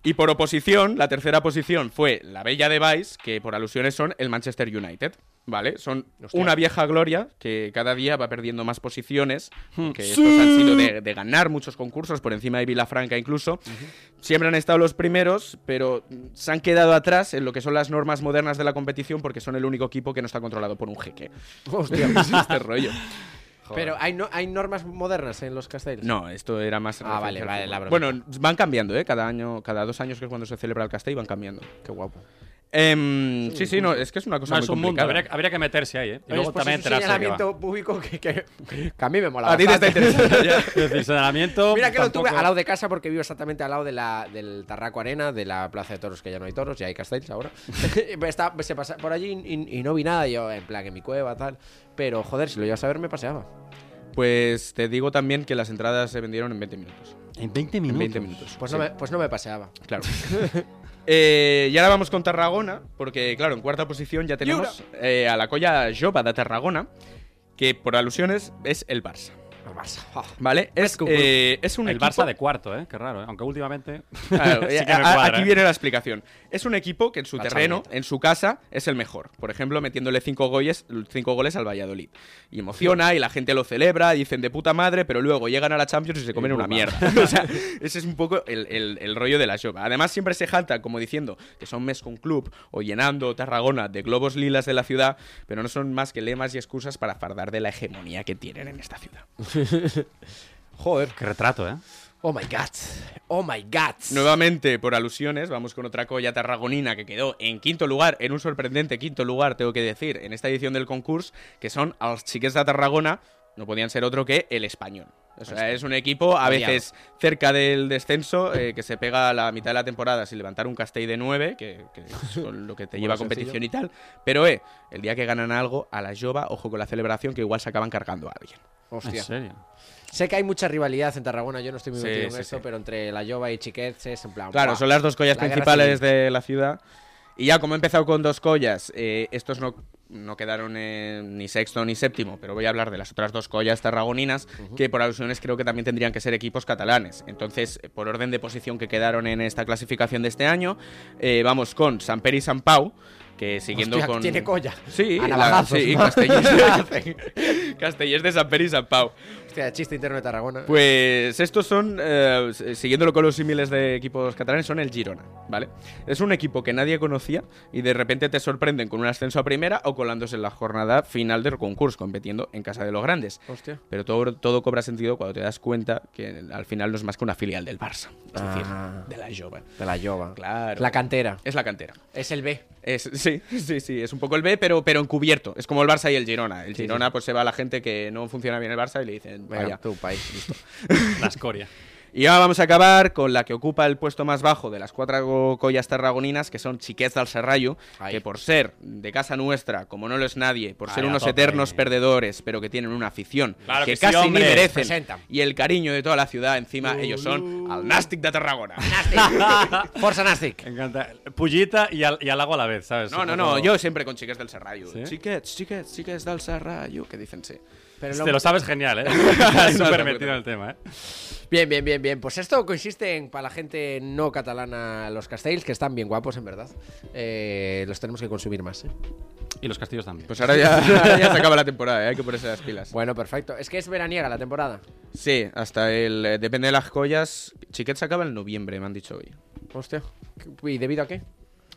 Y por oposición, la tercera posición fue la Bella de Vice, que por alusiones son el Manchester United. ¿Vale? Son
Hostia.
una vieja gloria que cada día va perdiendo más posiciones,
Hmm.
que
Sí.
estos han sido de, de ganar muchos concursos, por encima de Vilafranca incluso. Siempre han estado los primeros, pero se han quedado atrás en lo que son las normas modernas de la competición porque son el único equipo que no está controlado por un jeque.
Hostia. pues
Es este rollo.
Pero hay, no, hay normas modernas en los castells.
No, esto era más.
Ah, vale,
referencia al
vale,
fútbol.
la broma.
Bueno, van cambiando, ¿eh? Cada año, cada dos años, que es cuando se celebra el castell, van cambiando. Qué guapo. Em, sí, sí, no, es que es una cosa
No,
muy
es un mundo,
complicada.
habría, habría que meterse ahí, ¿eh? Y
Oye,
luego
pues
también
es un
enterarse de qué va.
señalamiento público que, que, que a mí me mola.
A ti te está
bastante.
interesando ya.
Es decir, señalamiento.
Mira que lo tuve
tampoco-
al lado de casa porque vivo exactamente al lado de la, del Tarraco Arena, de la Plaza de Toros, que ya no hay toros, ya hay castells ahora. Está- se pasa por allí y, y no vi nada, yo en plan en mi cueva, tal. Pero joder, si lo llevas a ver me paseaba.
Pues te digo también que las entradas se vendieron en 20 minutos.
¿En 20
En 20
minutos?
minutos.
Pues,
sí.
no, me, pues no me paseaba.
Claro. Eh, y ahora vamos con Tarragona, porque claro, en cuarta posición ya tenemos eh, a la colla Jova de Tarragona, que por alusiones es el Barça.
El Barça. Ah.
¿Vale? Es, eh, es un
El
equipo-
Barça de cuarto, ¿eh? Qué raro, ¿eh? Aunque últimamente.
Claro,
sí que me
a- a-
cuadra,
aquí
¿eh?
viene la explicación. Es un equipo que en su
La
terreno, en su casa, es el mejor. Por ejemplo, metiéndole cinco goles, cinco goles al Valladolid. Y emociona y la gente lo celebra, dicen de puta madre, pero luego llegan a la Champions y se comen una mierda. O sea, ese es un poco el, el- el rollo de la Jova. Además, siempre se jactan como diciendo que son mes con club o llenando Tarragona de globos lilas de la ciudad, pero no son más que lemas y excusas para fardar de la hegemonía que tienen en esta ciudad.
Joder.
Qué retrato, ¿eh?
Oh my god. Oh my god.
Nuevamente, por alusiones, vamos con otra colla tarragonina que quedó en quinto lugar, en un sorprendente quinto lugar, tengo que decir, en esta edición del concurso, que son a los chiques de Tarragona, no podían ser otro que el español. O sea, es un equipo a
Odiado.
veces cerca del descenso, eh, que se pega a la mitad de la temporada sin levantar un castell de 9, que, que es con lo que te lleva a
Bueno,
competición y
sencillo.
tal. Pero, eh, el día que ganan algo, a la Jova, ojo con la celebración, que igual se acaban cargando a alguien.
¿En
Hostia.
serio?
Sé que hay mucha rivalidad en Tarragona, yo no estoy muy
Ah, Sí,
metido en
sí,
esto,
sí.
pero entre la Jova y Chiquets es en plan.
Claro,
¡buah!
son las dos collas
La guerra
principales
civil.
de la ciudad. Y ya como he empezado con dos collas, eh, estos no, no quedaron eh, ni sexto ni séptimo, pero voy a hablar de las otras dos collas tarragoninas, que por alusiones creo que también tendrían que ser equipos catalanes. Entonces, eh, por orden de posición que quedaron en esta clasificación de este año, eh, vamos con San Per y San Pau, que siguiendo
Hostia,
con...
tiene colla.
Sí,
A
la-
navajazos,
sí,
¿no?
Castellers, Castellers de San Per y San Pau.
Hostia, chiste interno de Tarragona. ¿eh?
Pues estos son, eh, s- siguiéndolo con los símiles de equipos catalanes, son el Girona, ¿vale? Es un equipo que nadie conocía y de repente te sorprenden con un ascenso a primera o colándose en la jornada final del concurso, compitiendo en casa de los grandes.
Hostia.
Pero todo, todo cobra sentido cuando te das cuenta que al final no es más que una filial del Barça, es
Ah.
decir, de la Jova.
De la Jova.
Claro.
La cantera.
es la cantera.
Es el B.
Es- sí, sí, sí, es un poco el B, pero, pero encubierto. Es como el Barça y el Girona. El
Sí,
Girona pues se va a la gente que no funciona bien el Barça y le dicen,
Venga,
vaya,
tu país, listo.
La escoria.
Y ahora vamos a acabar con la que ocupa el puesto más bajo de las cuatro collas tarragoninas, que son Chiquets del Serrallo,
Ay.
que por ser de casa nuestra, como no lo es nadie, por ser
Ay, a
unos
tope.
eternos perdedores, pero que tienen una afición
Claro que sí,
casi
hombre.
ni merecen,
Presentan.
y el cariño de toda la ciudad, encima ellos son al Nastic de Tarragona. Ah.
Forza Nastic.
Me encanta. Pullita y, al, y halago a la vez, ¿sabes?
No,
Un
no,
poco-
no, yo siempre con Chiquets del Serrallo.
¿Sí?
Chiquets, Chiquets, Chiquets del Serrallo, que dicen sí.
Pero
Te
luego-
lo sabes genial, ¿eh? Estás
No,
súper
no,
metido
no.
en el tema, ¿eh?
Bien, bien, bien, bien. Pues esto consiste en, para la gente no catalana, los castells, que están bien guapos, en verdad. Eh, los tenemos que consumir más. ¿eh?
Y los castillos también.
Pues ahora ya, ahora ya se acaba la temporada, ¿eh? hay que ponerse las pilas.
Bueno, perfecto. Es que es veraniega la temporada.
Sí, hasta el... eh, Depende de las collas. Chiquets acaba en noviembre, me han dicho hoy.
Hostia. ¿Y debido a qué?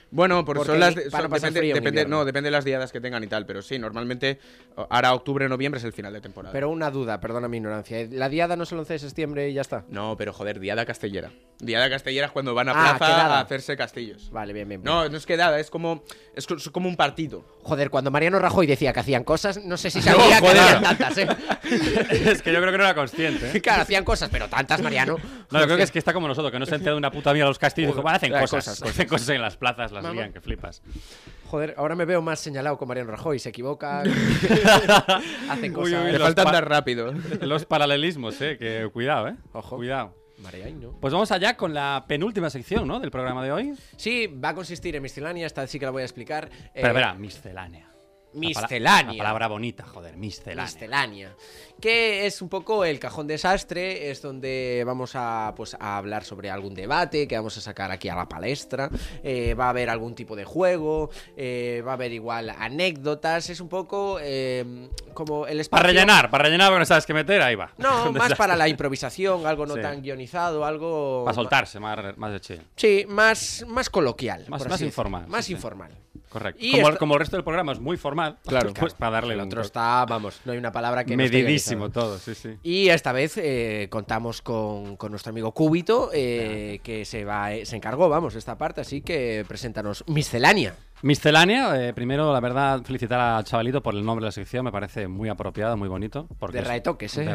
Bueno, por
Porque
son las
ahí
de-
para
son-
no pasar
depende,
frío en
depende-
invierno.
no, depende de las diadas que tengan y tal, pero sí, normalmente o- ahora octubre, noviembre es el final de temporada.
Pero una duda, perdona mi ignorancia. Eh, La diada no es el 11 de septiembre y ya está.
No, pero joder, diada castellera. Diada castellera es cuando van a
Ah,
plaza
quedada.
a hacerse castillos.
Vale, bien, bien. bien.
No, no es quedada, es como es co- es como un partido.
Joder, cuando Mariano Rajoy decía que hacían cosas, no sé si
No,
sabía que
joder.
hacían tantas, ¿eh?
es que yo creo que no era consciente, ¿eh?
Claro, hacían cosas, pero tantas, Mariano.
No, yo creo que es que está como nosotros, que no se entera de una puta mierda los castillos. Dijo, "Vale, hacen
Hay
cosas,
cosas, cosas".
hacen cosas en las plazas, las
Mamá.
lían, que flipas.
Joder, ahora me veo más señalado con Mariano Rajoy. Se equivoca. Hacen
Uy,
cosas.
uy,
Le
los
falta
pa-
andar rápido.
Los paralelismos, ¿eh? Que cuidado, ¿eh?
Ojo.
Cuidado.
Mariano.
Pues vamos allá con la penúltima sección, ¿no? Del programa de hoy.
Sí, va a consistir en miscelánea. Esta sí que la voy a explicar. Eh,
Pero verá, miscelánea.
Miscelánea.
La palabra bonita, joder, miscelánea.
Miscelánea. Que es un poco el cajón desastre, es donde vamos a, pues, a hablar sobre algún debate que vamos a sacar aquí a la palestra. eh, va a haber algún tipo de juego, eh, va a haber igual anécdotas. Es un poco eh, como el espacio.
Para rellenar, para rellenar, porque no sabes qué meter, ahí va.
No, más
Desastre.
para la improvisación, algo no
Sí.
tan guionizado, algo.
Para soltarse, más, más de chill.
Sí, más, más coloquial.
Más,
por
más
así decirlo.
informal.
Más
sí, sí.
informal.
Correcto.
Y
Como, el-
esta-
como el resto del programa es muy formal,
Claro.
pues para darle
El
un
otro
toque.
está, vamos, no hay una palabra que no esté
Medidísimo
guionizada.
todo, sí, sí.
Y esta vez eh, contamos con, con nuestro amigo Cúbito, eh, que se va eh, se encargó, vamos, de esta parte, así que preséntanos Miscelánea.
Miscelánea, eh, primero, la verdad, felicitar al chavalito por el nombre de la sección, me parece muy apropiado, muy bonito. Porque
De
es-
retoques, ¿eh?
De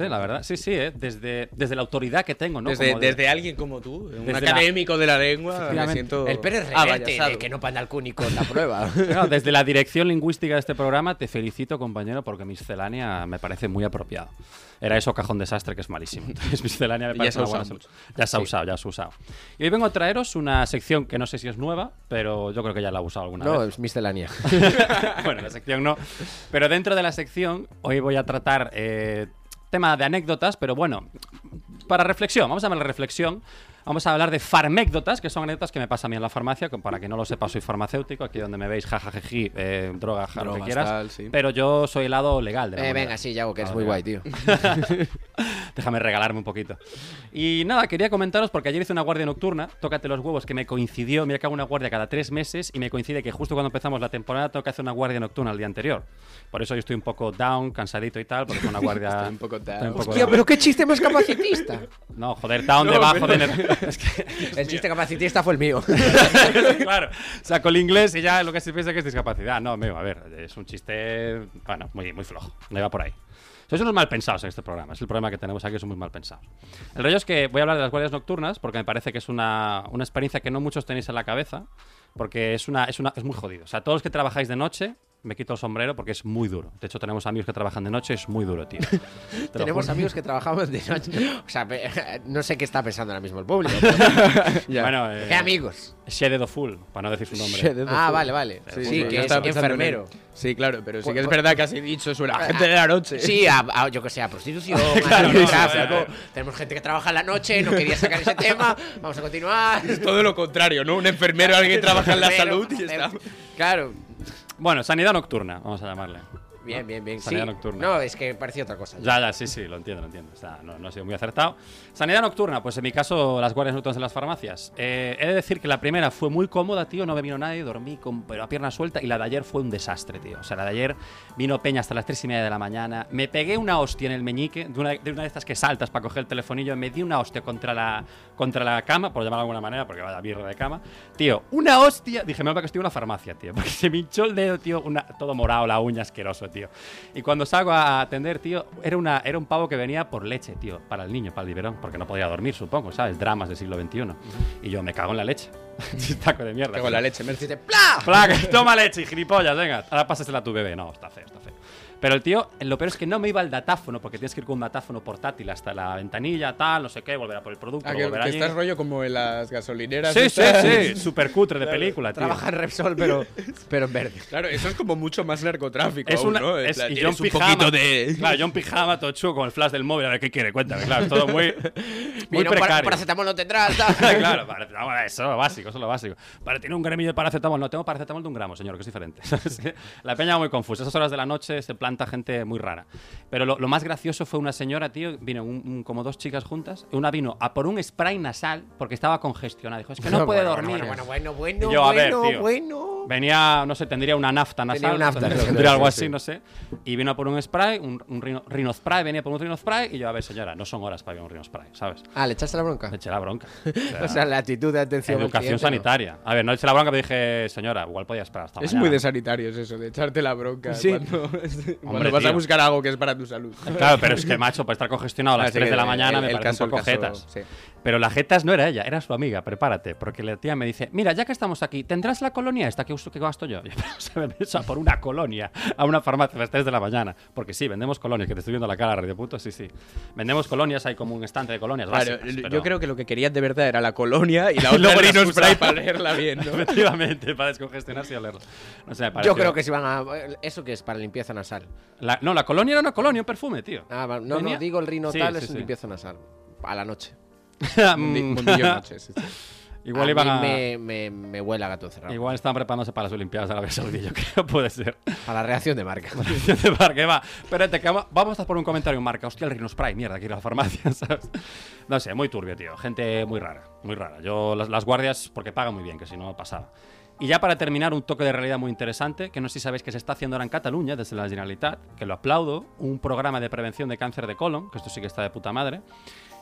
eh, la verdad. Sí, sí, eh, desde, desde la autoridad que tengo, ¿no?
Desde-
Como de-
desde alguien como tú, un
desde
académico de la lengua, me
Efectivamente.
siento-
El Pérez
Ah,
Reverte,
vaya,
de que no panda al cúnico en la prueba.
No, desde la dirección lingüística de este programa te felicito, compañero, porque miscelánea me parece muy apropiado. Era eso cajón desastre que es malísimo. Entonces, miscelánea me
Ya
parece
se ha
una buena
usado
solu- Ya se ha usado, ya se ha usado. Y hoy vengo a traeros una sección que no sé si es nueva, pero yo creo que ya la he usado alguna
No,
vez.
es miscelánea.
bueno, la sección no. Pero dentro de la sección, hoy voy a tratar eh, tema de anécdotas, pero bueno, para reflexión, vamos a hablar de reflexión. Vamos a hablar de farmécdotas, que son anécdotas que me pasa a mí en la farmacia. que Para que no lo sepa, soy farmacéutico. Aquí donde me veis, jajajeji, eh, droga, ja, lo que
Drogas,
quieras.
tal, sí.
Pero yo soy el lado legal de la
Eh,
moneda.
venga, sí, Yago, que eres
Ah,
muy
venga.
guay, tío.
Déjame regalarme un poquito. Y nada, quería comentaros porque ayer hice una guardia nocturna, Tócate los huevos, que me coincidió. Mira que hago una guardia cada tres meses y me coincide que justo cuando empezamos la temporada tengo que hacer una guardia nocturna el día anterior. Por eso yo estoy un poco down, cansadito y tal, porque fue una guardia.
Estoy un poco
estoy
down.
un poco
Hostia,
down.
pero qué chiste más capacitista.
No, joder, down
No,
debajo
pero-
de. ener- Es que-
El chiste capacitista fue el mío.
claro, saco el inglés y ya lo que se piensa que es discapacidad. No, amigo, a ver, es un chiste, bueno, muy, muy flojo. No iba por ahí. Sois unos mal pensados en este programa. Es el problema que tenemos aquí, son muy mal pensados. El rollo es que voy a hablar de las guardias nocturnas porque me parece que es una, una experiencia que no muchos tenéis en la cabeza porque es, una, es, una, es muy jodido. O sea, todos los que trabajáis de noche, me quito el sombrero porque es muy duro. De hecho, tenemos amigos que trabajan de noche, es muy duro, tío. Te lo
Tenemos
juro.
amigos que trabajamos de noche. O sea, pe- no sé qué está pensando ahora mismo el público.
Bueno, eh,
¿Qué amigos?
Shadow Full, para no decir su nombre.
Ah, vale, vale. Sí,
yo
que es
estaba pensando en
enfermero.
él. Sí, claro, pero sí
Cu-
que es
cu-
verdad que has dicho sobre la gente de la noche.
Sí, a, a- yo que sé, a prostitución, a
Claro,
tráfico.
no, vale,
Tenemos gente que trabaja en la noche, no quería sacar ese tema. Vamos a continuar.
Es todo lo contrario, ¿no? Un enfermero, alguien que trabaja en la
Pero,
salud y está.
Claro.
Bueno, sanidad nocturna, vamos a llamarle.
Bien, bien, bien.
Sanidad
sí.
nocturna.
No, es que parecía otra cosa.
Ya, ya, sí, sí, lo entiendo, lo entiendo. Está- no, no ha sido muy acertado. Sanidad nocturna, pues en mi caso, las guardias nocturnas en las farmacias. Eh, he de decir que la primera fue muy cómoda, tío, no me vino nadie, dormí con pero a pierna suelta y la de ayer fue un desastre, tío. O sea, la de ayer vino Peña hasta las tres y media de la mañana, me pegué una hostia en el meñique, de una de, una de estas que saltas para coger el telefonillo, me di una hostia contra la, contra la cama, por llamarlo de alguna manera, porque vaya mierda de cama. Tío, una hostia, dije, me va que estoy en una farmacia, tío, porque se me hinchó el dedo, tío, una, todo morado, la uña asqueroso, tío. Y cuando salgo a atender, tío, era, una, era un pavo que venía por leche, tío, para el niño, para el biberón, porque no podía dormir, supongo, ¿sabes? Dramas del siglo XXI. Y yo me cago en la leche. Este Taco de mierda.
Cago en la leche,
Y
Merce.
dices, ¡pla!
Placa, toma leche, gilipollas, venga. Ahora pásasela a tu bebé. No, está feo, está feo. Pero el tío, lo peor es que no me iba al datáfono, porque tienes que ir con un datáfono portátil hasta la ventanilla, tal, no sé qué, volver a por el producto,
Ah, que,
volver
que
allí.
estás rollo como en las gasolineras.
Sí, sí,
estas.
sí, super cutre de película, tío.
Trabaja en Repsol, pero, pero en verde.
Claro, eso es como mucho más narcotráfico.
Es
aún,
una,
¿no? En
es,
plan,
y yo en
tienes un
pijama,
poquito de.
Claro, yo en pijama, todo chulo, con el flash del móvil, a ver qué quiere, cuéntame, claro, todo muy, muy
Mira, un par-
precario.
paracetamol no tendrás.
Ah, claro, paracetamol, eso es lo básico, eso es lo básico. Para tiene un gramillo de paracetamol, no tengo paracetamol de un gramo, señor, que es diferente. la peña va muy confusa. Esas horas de la noche se planta gente muy rara. Pero lo, lo más gracioso fue una señora, tío, vino un- un- como dos chicas juntas. Una vino a por un spray nasal porque estaba congestionada. Dijo, es que no puede
Bueno,
dormir.
Bueno, bueno, bueno,
Y yo, a ver,
bueno,
tío.
bueno.
Venía, no sé, tendría una nafta nasal.
Tenía una nafta.
tendría,
Sí,
tendría
sí,
algo
sí.
así, no sé. Y vino a por un spray, un, un rino, rhinospray, venía por un rhinospray. Y yo, a ver, señora, no son horas para ir a un rhinospray, ¿sabes?
Ah, le echaste la bronca.
Me eché la bronca.
O sea, la actitud de atención. al
Educación
cliente, ¿no?
sanitaria. A ver, no eché la bronca, pero dije, señora, igual podía esperar hasta
Es
mañana.
muy de sanitarios eso, de echarte la bronca.
Sí.
Cuando, cuando
Hombre,
vas a
tío.
buscar algo que es para tu salud.
Claro, pero es que, macho, para estar congestionado a las
Así
3
que
de la
el-
mañana
el-
me
el
parece
caso-
un poco
el caso,
jetas.
sí.
Pero la Jetas no era ella, era su amiga, prepárate. Porque la tía me dice, mira, ya que estamos aquí, ¿tendrás la colonia esta que uso que gasto yo? Y yo, pero, o sea, me pienso a por una colonia a una farmacia a las 3 de la mañana. Porque sí, vendemos colonias, que te estoy viendo la cara, Radio Puto, sí, sí. Vendemos colonias, hay como un estante de colonias.
Claro,
básicas,
yo
pero-
creo que lo que querías de verdad era la colonia y la otra
Luego
era
era
Nino
excusa.
Spray para leerla bien, ¿no?
Efectivamente, para descongestionarse y olerla. No sé, me
Yo
pareció-
creo que si van a. ¿Eso que es? Para limpieza nasal.
La- no, la colonia era una colonia, un perfume, tío.
Ah, va- no,
Venía-
no, digo el rino
Sí,
tal,
sí,
es un
sí.
limpieza nasal. A la noche.
Mundi- mundillo noche, sí, sí. Igual
a
iban
mí
a-
me, me, me huele a gato cerrado.
Igual están preparándose para las Olimpiadas de Arabia Saudí, yo creo, puede ser.
Para la reacción de marca.
La reacción de marca, va. Espérate, que vamos- vamos a por un comentario en marca. Hostia, el Rhino Spray, mierda, aquí en la farmacia, ¿sabes? No sé, muy turbio, tío. Gente muy rara, muy rara. Yo, las, las guardias, porque pagan muy bien, que si no pasaba. Y ya para terminar, un toque de realidad muy interesante, que no sé si sabéis que se está haciendo ahora en Cataluña, desde la Generalitat, que lo aplaudo, un programa de prevención de cáncer de colon, que esto sí que está de puta madre,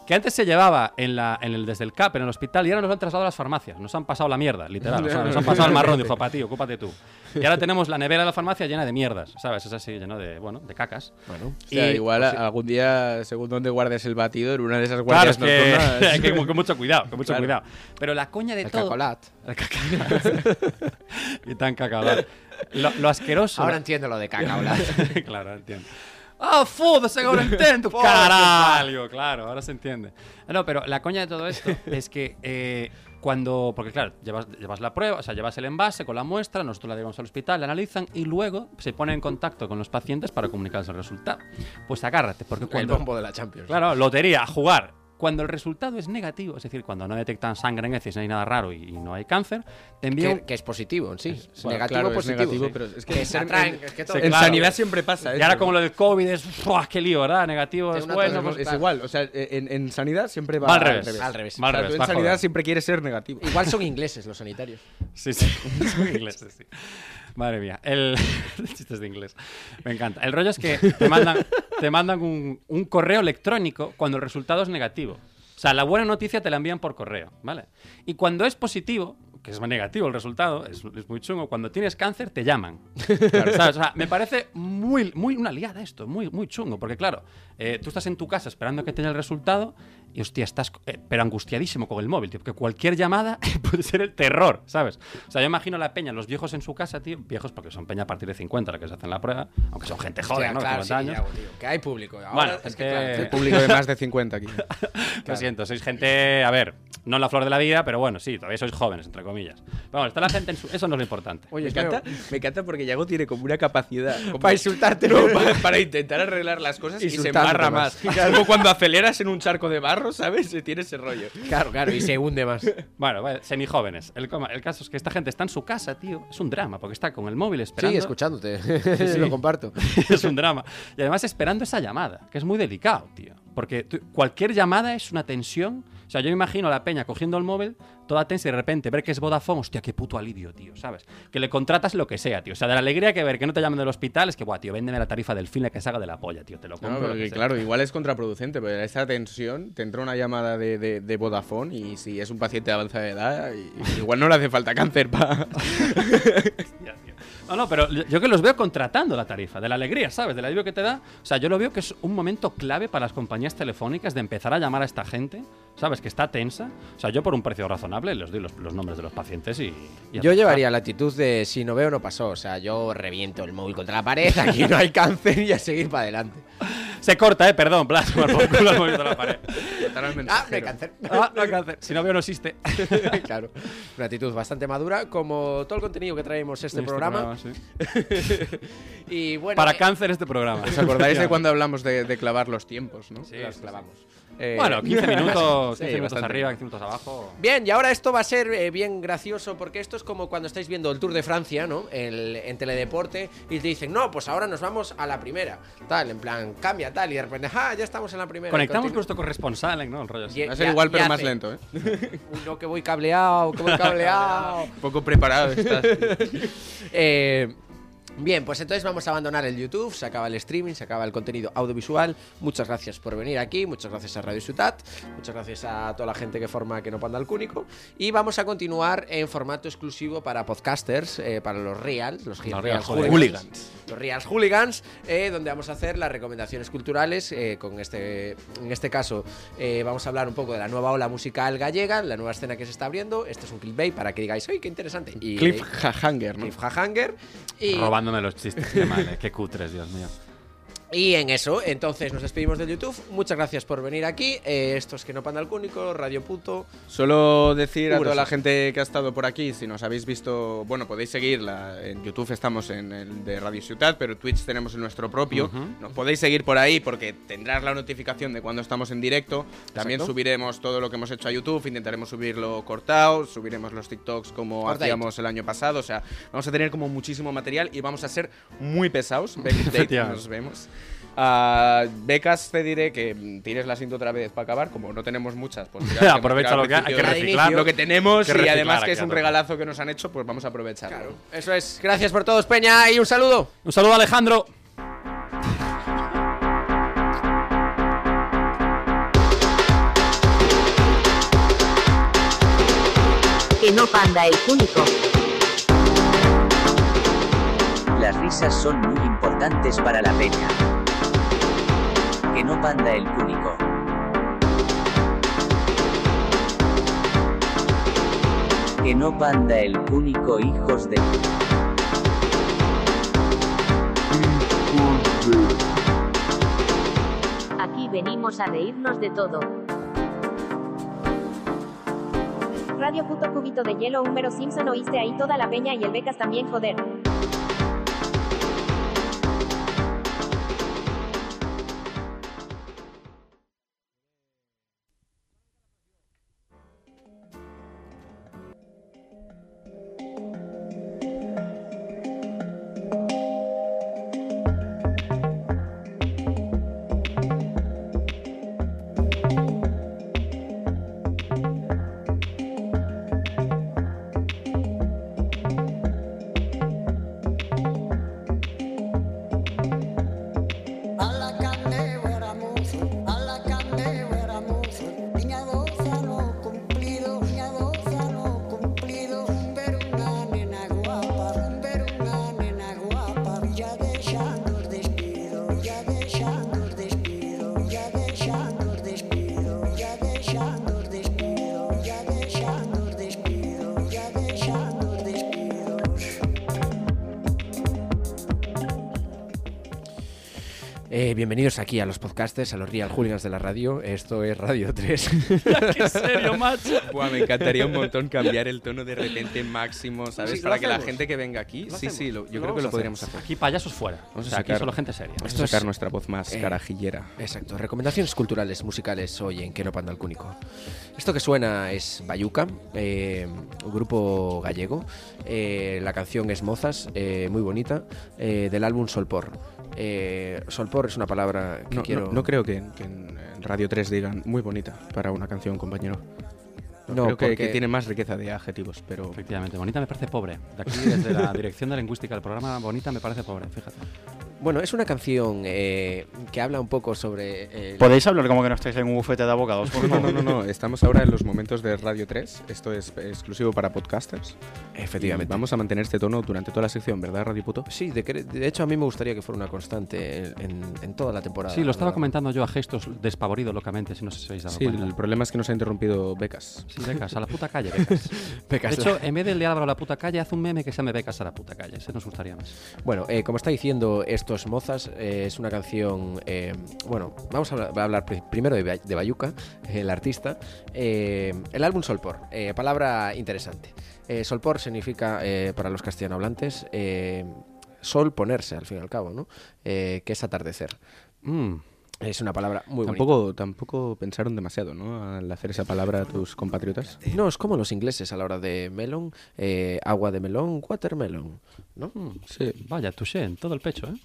que antes se llevaba en la, en el, desde el CAP, en el hospital, y ahora nos lo han trasladado a las farmacias. Nos han pasado la mierda, literal. o sea, nos han pasado el marrón, dijo, para ti, ocúpate tú. Y ahora tenemos la nevera de la farmacia llena de mierdas, ¿sabes? Es así, lleno de, bueno, de cacas. Bueno,
O sea, igual algún día, según donde guardes el batidor, una de esas guardias
claro, es que,
nocturnas-
que con- con mucho cuidado, con mucho
Claro.
cuidado. Pero la coña de
El
todo.
cacolat.
El cacaolat. y tan cacaolat. Lo, lo asqueroso.
Ahora entiendo lo de cacaolat.
claro, entiendo. ¡Ah, fúdese ahora intento!
Fúdese,
¡Caralho! Claro, ahora se entiende. No, pero la coña de todo esto es que eh, cuando. Porque, claro, llevas, llevas la prueba, o sea, llevas el envase con la muestra, nosotros la llevamos al hospital, la analizan y luego se pone en contacto con los pacientes para comunicarles el resultado. Pues agárrate, porque cuando.
El bombo de la Champions.
Claro, lotería, a jugar. Cuando el resultado es negativo, es decir, cuando no detectan sangre en heces, no hay nada raro y, y no hay cáncer, te envían.
Que, que es positivo en sí.
bueno,
negativo
claro, es
positivo.
negativo,
sí.
pero
es
que
que
en-
se atraen.
en-
Es que
sí,
todo.
En sanidad siempre pasa
Y
eso,
ahora
¿no?
como lo del COVID es, ¡fua, qué lío, ¿verdad? Negativo es
Es,
bueno. pues,
es igual, o sea, e- en, en sanidad siempre va
Va al revés. Al
Al
revés.
revés.
Va al
O sea,
revés,
tú
va
en sanidad
joder.
siempre quieres ser negativo.
Igual son ingleses los sanitarios.
Sí, sí, son ingleses, sí. Madre mía, el chistes de inglés. Me encanta. El rollo es que te mandan, te mandan un, un correo electrónico cuando el resultado es negativo. O sea, la buena noticia te la envían por correo, ¿vale? Y cuando es positivo, que es negativo el resultado, es, es muy chungo, cuando tienes cáncer te llaman. ¿sabes? O sea, me parece muy, muy una liada esto, muy, muy chungo, porque claro, eh, tú estás en tu casa esperando que tenga el resultado y hostia, estás eh, pero angustiadísimo con el móvil, tío, porque cualquier llamada puede ser el terror, ¿sabes? O sea, yo imagino a la peña, los viejos en su casa, tío, viejos porque son peña a partir de 50 la que se hacen la prueba, aunque son gente joven,
Hostia,
¿no?
claro,
50
sí,
años.
ya, tío, Que hay público. Ahora
Bueno,
es
es
que,
que-
claro,
El público de más de 50 aquí.
Lo siento, sois gente, a ver, no en la flor de la vida, pero bueno, sí, todavía sois jóvenes, entre comillas. Vamos, está la gente en su... Eso no es lo importante.
Oye, me encanta, me encanta porque Yago tiene como una capacidad como-
Para insultarte,
No,
¿no?
para, para intentar arreglar las cosas y se
Insultándote
embarra
más.
más. Es Como cuando aceleras en un charco de barro, ¿sabes? Tiene ese rollo.
Claro, claro, y se hunde más.
Bueno, vale, semijóvenes. El, coma- el caso es que esta gente está en su casa, tío. Es un drama, porque está con el móvil esperando.
Sí, escuchándote. Sí,
sí.
lo comparto.
es un drama. Y además esperando esa llamada, que es muy delicado, tío. Porque tú- cualquier llamada es una tensión. O sea, yo me imagino a la peña cogiendo el móvil, toda tensa y de repente ver que es Vodafone, hostia, qué puto alivio, tío, ¿sabes? Que le contratas lo que sea, tío. O sea, de la alegría que ver que no te llaman del hospital es que, guau, tío, véndeme la tarifa del fin la que salga de la polla, tío, te lo compro.
No,
lo
porque,
que sea".
claro, igual es contraproducente, pero esa tensión te entra una llamada de, de, de Vodafone y si es un paciente de avanzada edad, y- igual no le hace falta cáncer para...
No, no, pero yo que los veo contratando la tarifa, de la alegría, ¿sabes? Del alivio que te da. O sea, yo lo veo que es un momento clave para las compañías telefónicas de empezar a llamar a esta gente, ¿sabes? Que está tensa. O sea, yo por un precio razonable les doy los, los nombres de los pacientes y. y a
Yo
trabajar.
llevaría la actitud de si no veo, no pasó. O sea, yo reviento el móvil contra la pared, aquí no hay cáncer y a seguir para adelante.
Se corta, ¿eh? Perdón, Blas, por por culo, has movido la pared.
Ah, no hay cáncer. Este
Ah, no hay cáncer. Si no veo, no existe.
claro. Una actitud bastante madura, como todo el contenido que traemos este,
Este
programa.
programa, sí.
Y bueno,
Para
eh,
cáncer este programa.
¿Os acordáis de cuando hablamos de, de clavar los tiempos, no? Sí,
los clavamos.
Bueno, 15 minutos, 15
Sí,
minutos
bastante.
arriba, 15 minutos abajo.
Bien, y ahora esto va a ser eh, bien gracioso porque esto es como cuando estáis viendo el Tour de Francia, ¿no? El- en teledeporte y te dicen, no, pues ahora nos vamos a la primera. Tal, en plan, cambia, tal, y de repente, ah, ya estamos en la primera.
Conectamos con
Y continu-
nuestro corresponsal, ¿eh? ¿no? El rollo así.
Va a ser
Ya-
igual,
ya
pero
hace.
más lento, ¿eh?
Uy, no, que voy cableado, que voy cableado.
Poco preparado estás.
Eh, Bien, pues entonces vamos a abandonar el YouTube, se acaba el streaming, se acaba el contenido audiovisual. Muchas gracias por venir aquí, muchas gracias a Radio Ciutat, muchas gracias a toda la gente que forma Que no panda el cúnico. Y vamos a continuar en formato exclusivo para podcasters, eh, para los reals, los,
Los
real
real
hooligans.
hooligans.
Los real hooligans, eh, donde vamos a hacer las recomendaciones culturales. eh, con este, en este caso eh, vamos a hablar un poco de la nueva ola musical gallega, la nueva escena que se está abriendo. Este es un clickbait para que digáis, ¡ay, qué interesante! Y,
Cliffhanger, ¿no?
Cliffhanger. Y,
Robándome los chistes, qué mal, eh, qué cutres, Dios mío.
y en eso, entonces nos despedimos del YouTube. Muchas gracias por venir aquí. Eh, esto es Que no panda el cúnico, Radio Puto.
Solo decir a
Puro
toda la
saco.
gente que ha estado por aquí, si nos habéis visto, bueno, podéis seguirla. En YouTube estamos en el de Radio Ciudad, pero Twitch tenemos el nuestro propio.
Ujú.
Nos podéis seguir por ahí porque tendrás la notificación de cuando estamos en directo. También
Exacto.
subiremos todo lo que hemos hecho a YouTube, intentaremos subirlo cortado, subiremos los TikToks como
Cortadito.
hacíamos el año pasado. O sea, vamos a tener como muchísimo material y vamos a ser muy pesados. Ven, Dave,
Efectivamente.
nos vemos. Ah, becas te diré que mm, tires la cinta otra vez para acabar, como no tenemos muchas, pues mira, hemos
Aprovecha
quedado
lo que hay,
al
hay que
principio de-
reciclar.
Lo que tenemos
Hay que
y
reciclar
además que
aquí
es
a
un
tope.
regalazo que nos han hecho, pues vamos a aprovecharlo.
Eso es. Gracias por todos, Peña, y un saludo.
Un saludo, Alejandro.
Que no panda el cúnico.
Las risas son muy importantes para la peña. Que no panda el cúnico. Que no panda el cúnico, hijos de...
Aquí venimos a reírnos de todo.
Radio puto cubito de hielo húmero Simpson oíste ahí toda la peña y el becas también joder.
A la candeguera mozo, a la candeguera mozo, niña doza no cumplido, niña doza no cumplido, pero una nena guapa, pero una nena guapa, ya dejando el despido, ya dejando el despido, ya dejando el despido, ya dejando el despido, ya dejando el despido, ya dejando el despido.
Eh, bienvenidos aquí a los podcasters, a los Real Hooligans de la radio. Esto es Radio 3.
¿Qué serio, macho? me encantaría un montón cambiar el tono de repente máximo, ¿sabes?
Sí, lo
Para que la
hacemos.
gente que venga aquí.
Lo
sí,
hacemos.
sí, lo- yo
Lo
creo que
vamos
lo
a
podríamos
hacer.
hacer.
Aquí payasos fuera.
Vamos a
O sea, aquí
sacar-
solo gente seria.
Vamos a sacar nuestra voz más
eh,
carajillera.
Exacto. Recomendaciones culturales, musicales hoy en Que no panda el cúnico. Esto que suena es Bayuca, eh, un grupo gallego. Eh, la canción es Mozas, eh, muy bonita, eh, del álbum Solpor. Eh, Solpor es una palabra que
No,
quiero.
no- no creo que, en- que en en Radio 3 digan muy bonita para una canción, compañero.
No,
creo que- que,
porque-
tiene más riqueza de adjetivos, pero.
Efectivamente, bonita me parece pobre. De aquí, desde la dirección de lingüística del programa, bonita me parece pobre, fíjate.
Bueno, es una canción eh, que habla un poco sobre. eh,
¿Podéis hablar como que no estáis en un bufete de abogados? por
No, no,
favor?
no, no, estamos ahora en los momentos de Radio 3. Esto es exclusivo para podcasters.
Efectivamente.
Y vamos a mantener este tono durante toda la sección, ¿verdad, Radio Puto?
Sí, de, cre- de hecho a mí me gustaría que fuera una constante en, en- en toda la temporada.
Sí, lo estaba
¿verdad?
comentando yo a gestos despavorido locamente, si no os habéis dado
Sí,
cuenta.
el problema es que nos ha interrumpido Becas.
Sí, becas, a la puta calle, becas.
Becas,
de hecho, en vez de le abro a la puta calle, haz un meme que se me becas a la puta calle. Ese nos gustaría más.
Bueno, eh, como está diciendo estos mozas, eh, es una canción. eh, bueno, vamos a hablar, va a hablar pri- primero de, Bay- de Bayuca, el artista. Eh, el álbum Solpor, eh, palabra interesante. Eh, Solpor significa, eh, para los castellanohablantes, eh, sol ponerse, al fin y al cabo, ¿no? Eh, que es atardecer.
Mm,
Es una palabra muy bonita.
tampoco, tampoco pensaron demasiado, ¿no? Al hacer esa palabra a tus compatriotas.
No, es como los ingleses a la hora de melón, eh, agua de melón, watermelon, ¿no?
Sí.
Mm. Vaya, touché en todo el pecho, ¿eh?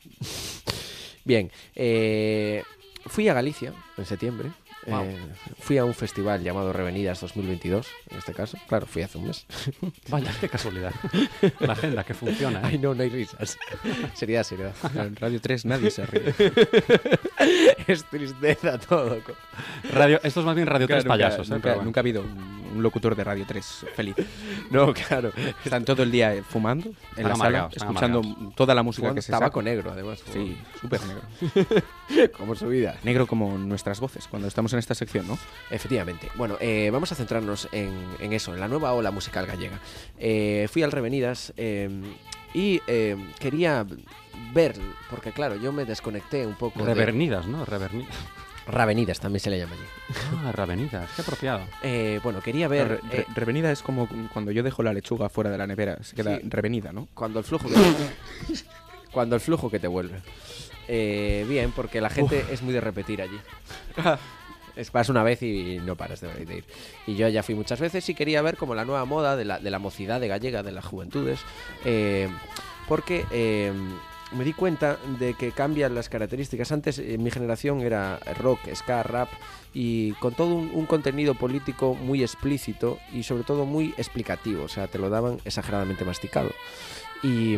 Bien, eh, fui a Galicia en septiembre
Wow.
Eh, fui a un festival llamado Revenidas 2022, en este caso. Claro, fui hace un mes.
Vaya, qué casualidad. La agenda que funciona. ¿eh?
Ay, no, no hay risas. Seriedad, seriedad. En Radio 3 nadie se ríe. es tristeza todo. co-
Radio- esto es más bien Radio
Nunca,
3
nunca,
payasos, ¿eh?
Nunca,
Pero bueno.
nunca ha habido un, un locutor de Radio 3 feliz.
No, Oh, claro.
Están todo el día eh, fumando en la
Están
sala,
amargados, están
escuchando
amargados.
toda la música
Fumando
que se
tabaco
saca.
negro, además,
Sí,
como-
súper negro.
como su vida.
Negro como nuestras voces cuando estamos en esta sección, ¿no?
Efectivamente. Bueno, eh, vamos a centrarnos en, en eso, en la nueva ola musical gallega. Eh, fui al Revenidas eh, y eh, quería ver, porque claro, yo me desconecté un poco. de-
Revernidas, ¿no? Revernidas.
Ravenidas también se le llama allí.
Ah, Ravenidas, qué apropiado.
Eh, bueno, quería ver.
Re-
eh,
revenida es como cuando yo dejo la lechuga fuera de la nevera, se queda
Sí.
revenida, ¿no?
Cuando el flujo que- Cuando el flujo que te vuelve. Eh, bien, porque la gente es muy de repetir allí.
Ah.
Es, vas una vez y no paras de, de ir. Y yo ya fui muchas veces y quería ver como la nueva moda de la, de la mocidad de gallega, de las juventudes. eh, porque eh, me di cuenta de que cambian las características. Antes eh, mi generación era rock, ska, rap y con todo un, un contenido político muy explícito y sobre todo muy explicativo. O sea, te lo daban exageradamente masticado. Y,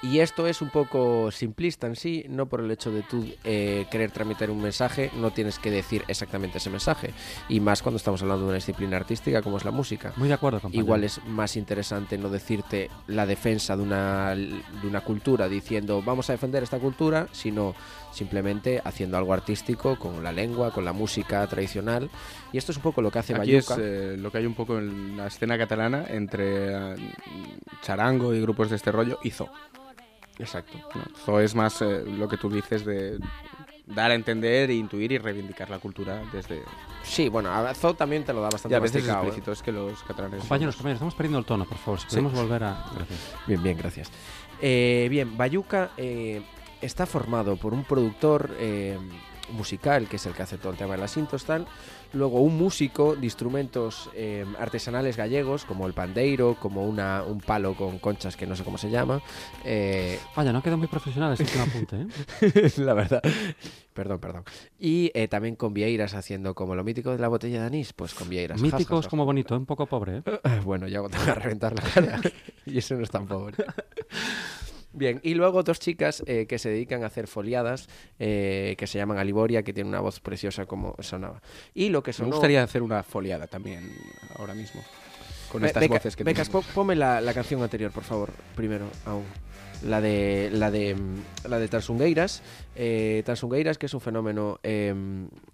y esto es un poco simplista en sí, no por el hecho de tú eh, querer tramitar un mensaje, no tienes que decir exactamente ese mensaje. Y más cuando estamos hablando de una disciplina artística como es la música.
Muy de acuerdo, compañero.
Igual es más interesante no decirte la defensa de una, de una cultura diciendo vamos a defender esta cultura, sino simplemente haciendo algo artístico con la lengua, con la música tradicional. Y esto es un poco lo que hace
Aquí es
Bayuca.
eh, lo que hay un poco en la escena catalana entre eh, charango y grupos de este rollo y zoo.
Exacto.
¿no? Zoo es más eh, lo que tú dices de dar a entender, intuir y reivindicar la cultura desde...
Sí, bueno, a Zoo también te lo da bastante
Y a veces es
masticado, ¿eh?
explícito, es que los catalanes...
Compañeros, compañeros, estamos perdiendo el tono, por favor. Si
Sí.
podemos volver a. Gracias.
Bien, bien, gracias. Eh, bien, Bayuca eh, está formado por un productor eh, musical, que es el que hace todo el tema de las cintas, tal. Luego un músico de instrumentos eh, artesanales gallegos, como el pandeiro, como una, un palo con conchas que no sé cómo se llama. eh,
Vaya, no queda muy profesional este último apunte, ¿eh?
la verdad. Perdón, perdón. Y eh, también con Vieiras haciendo como lo mítico de la botella de anís, pues con Vieiras.
Mítico
Míticos
es como bonito, ¿eh? un poco pobre, ¿eh?
Bueno, ya te voy a reventar la cara. y eso no es tan pobre. Bien, y luego dos chicas eh, que se dedican a hacer foliadas, eh, que se llaman Aliboria, que tiene una voz preciosa como sonaba. Y lo que
Me
sonó...
gustaría hacer una foliada también ahora mismo. Con
Be-
estas
Beca-
voces que
Becas,
tenemos.
pon- ponme la, la canción anterior, por favor, primero, aún. La de, la de, mm, la de Transungueiras. Eh, Transungueiras, que es un fenómeno eh,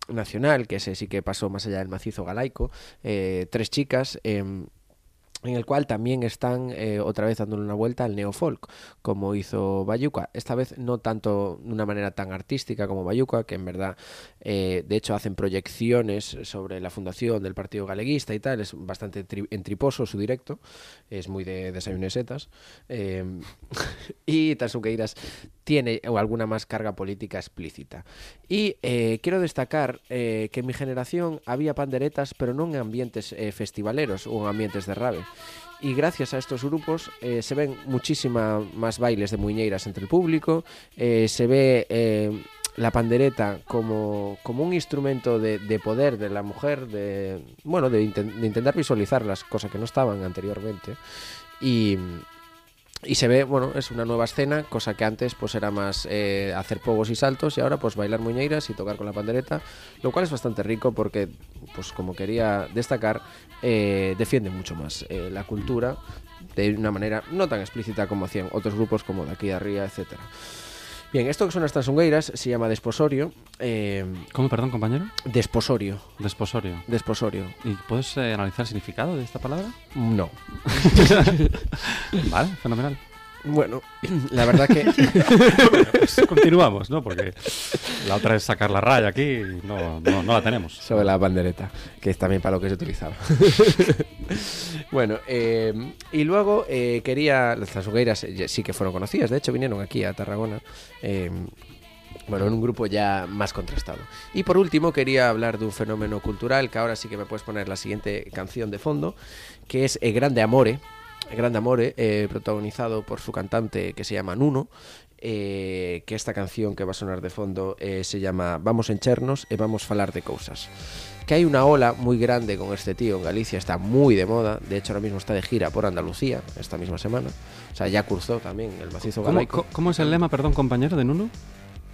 nacional, que ese sí que pasó más allá del macizo galaico. Eh, tres chicas. eh, en el cual también están eh, otra vez dándole una vuelta al neofolk, como hizo Bayuca. Esta vez no tanto de una manera tan artística como Bayuca, que en verdad, eh, de hecho, hacen proyecciones sobre la fundación del Partido Galeguista y tal. Es bastante tri- entriposo su directo, es muy de desayuno de setas. Eh, y Tansuqueiras tiene o alguna más carga política explícita. Y eh, quiero destacar eh, que en mi generación había panderetas, pero no en ambientes eh, festivaleros o en ambientes de rave. Y gracias a estos grupos eh, se ven muchísima más bailes de muñeiras entre el público, eh, se ve eh, la pandereta como, como un instrumento de, de poder de la mujer, de bueno, de, inten- de intentar visualizar las cosas que no estaban anteriormente. Y, y se ve, bueno, es una nueva escena, cosa que antes pues era más eh, hacer pogos y saltos y ahora pues bailar muñeiras y tocar con la pandereta, lo cual es bastante rico porque, pues como quería destacar, eh, defiende mucho más eh, la cultura de una manera no tan explícita como hacían otros grupos como de aquí de arriba, etcétera. Bien, esto que son estas ungueiras se llama desposorio. eh,
¿Cómo, perdón, compañero?
desposorio.
Desposorio.
Desposorio.
¿Y puedes eh, analizar el significado de esta palabra?
No.
vale, fenomenal.
Bueno, la verdad que...
Bueno, pues continuamos, ¿no? Porque la otra es sacar la raya aquí y no, no, no la tenemos.
Sobre la bandereta, que es también para lo que se utilizaba. bueno, eh, y luego eh, quería. Las Tansugueiras eh, sí que fueron conocidas, de hecho vinieron aquí a Tarragona. eh, bueno, en un grupo ya más contrastado. Y por último, quería hablar de un fenómeno cultural que ahora sí que me puedes poner la siguiente canción de fondo, que es El eh, Grande Amore. El Grande Amore, eh, protagonizado por su cantante que se llama Nuno. eh, que esta canción que va a sonar de fondo eh, se llama Vamos a enchernos e vamos a falar de cousas. Que hay una ola muy grande con este tío en Galicia, está muy de moda, de hecho ahora mismo está de gira por Andalucía esta misma semana. O sea, ya cursó también el macizo
¿Cómo,
galaico.
cómo es el lema, perdón, compañero de Nuno?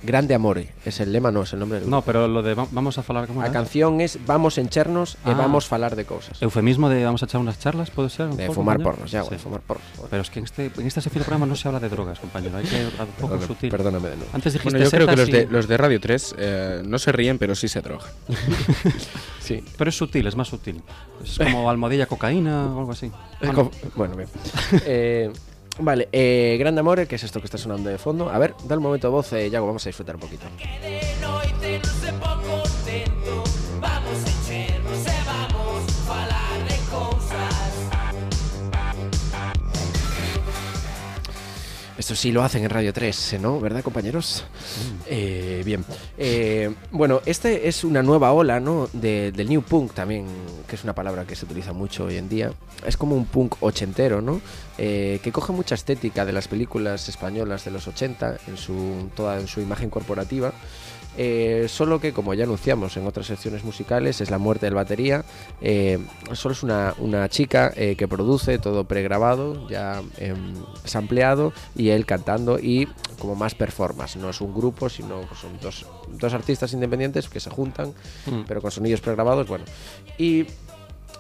Grande Amore, es el lema, no es el nombre del
No, pero lo de va- vamos a hablar como
La canción es Vamos a enchernos e
Ah.
vamos a falar de cousas.
Eufemismo de vamos a echar unas charlas, ¿puede ser?
De fumar porros, ya, de fumar porros.
Pero es que en este, en este sección del programa no se habla de drogas, compañero. Hay que ser un poco
Perdona-
sutil.
perdóname de nuevo.
Antes dijiste
Bueno, yo creo que
setas
los de,
y-
los de Radio 3 eh, no se ríen, pero sí se drogan.
sí.
Pero es sutil, es más sutil. Es como almohadilla cocaína o algo así.
Eh, com- Bueno, bien. Eh, vale, eh, Grande Amore, que es esto que está sonando de fondo. A ver, da un momento de voz, eh, Yago, vamos a disfrutar un poquito.
Vamos a enchernos e vamos falar de cousas
Esto sí lo hacen en Radio 3, ¿no? ¿Verdad, compañeros? Eh, bien. Eh, bueno, este es una nueva ola, ¿no? De- del New Punk también, que es una palabra que se utiliza mucho hoy en día. Es como un punk ochentero, ¿no? Eh, que coge mucha estética de las películas españolas de los 80, en su, toda en su imagen corporativa. Eh, solo que, como ya anunciamos en otras secciones musicales, es la muerte del batería. Eh, solo es una, una chica eh, que produce todo pregrabado, ya em, sampleado, y él cantando y como más performance. No es un grupo, sino que son dos, dos artistas independientes que se juntan,
Mm.
pero con sonidos pregrabados. Bueno, y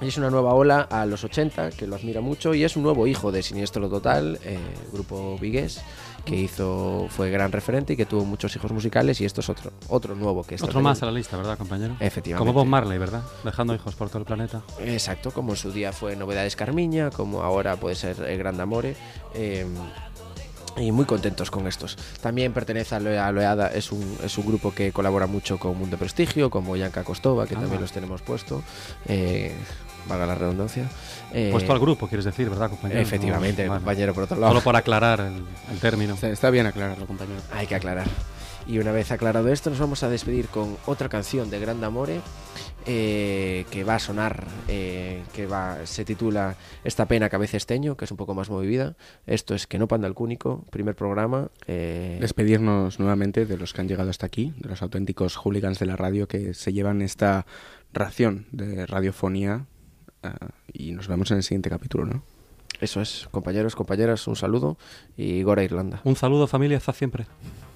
y es una nueva ola a los 80, que lo admira mucho, y es un nuevo hijo de Siniestro Total, eh, grupo vigués, que hizo, fue gran referente y que tuvo muchos hijos musicales, y esto es otro, otro nuevo que está
Otro más a
teniendo.
la lista, ¿verdad, compañero?
Efectivamente.
Como Bob Marley, ¿verdad? Dejando hijos por todo el planeta.
Exacto, como en su día fue Novedades Carmiña, como ahora puede ser El Gran Amore. eh, y muy contentos con estos. También pertenece a Loea Loeada, es un, es un grupo que colabora mucho con Mundo Prestigio, como Yanka Kostova, que
Ah.
también los tenemos puesto. eh, valga la redundancia. eh,
Puesto al grupo, quieres decir, ¿verdad, compañero?
Efectivamente,
Vale.
compañero, por otro lado.
Solo por aclarar el, el término.
Está bien aclararlo, compañero.
Hay que aclarar. Y una vez aclarado esto, nos vamos a despedir con otra canción de Grande Amore eh, que va a sonar, eh, que va, se titula Esta pena que a veces teño, que es un poco más movida. Esto es Que no panda el cúnico, primer programa. eh,
Despedirnos nuevamente de los que han llegado hasta aquí, de los auténticos hooligans de la radio que se llevan esta ración de radiofonía. ah, y nos vemos en el siguiente capítulo, ¿no?
Eso es, compañeros, compañeras, un saludo y Gora Irlanda.
Un saludo, familia, hasta siempre.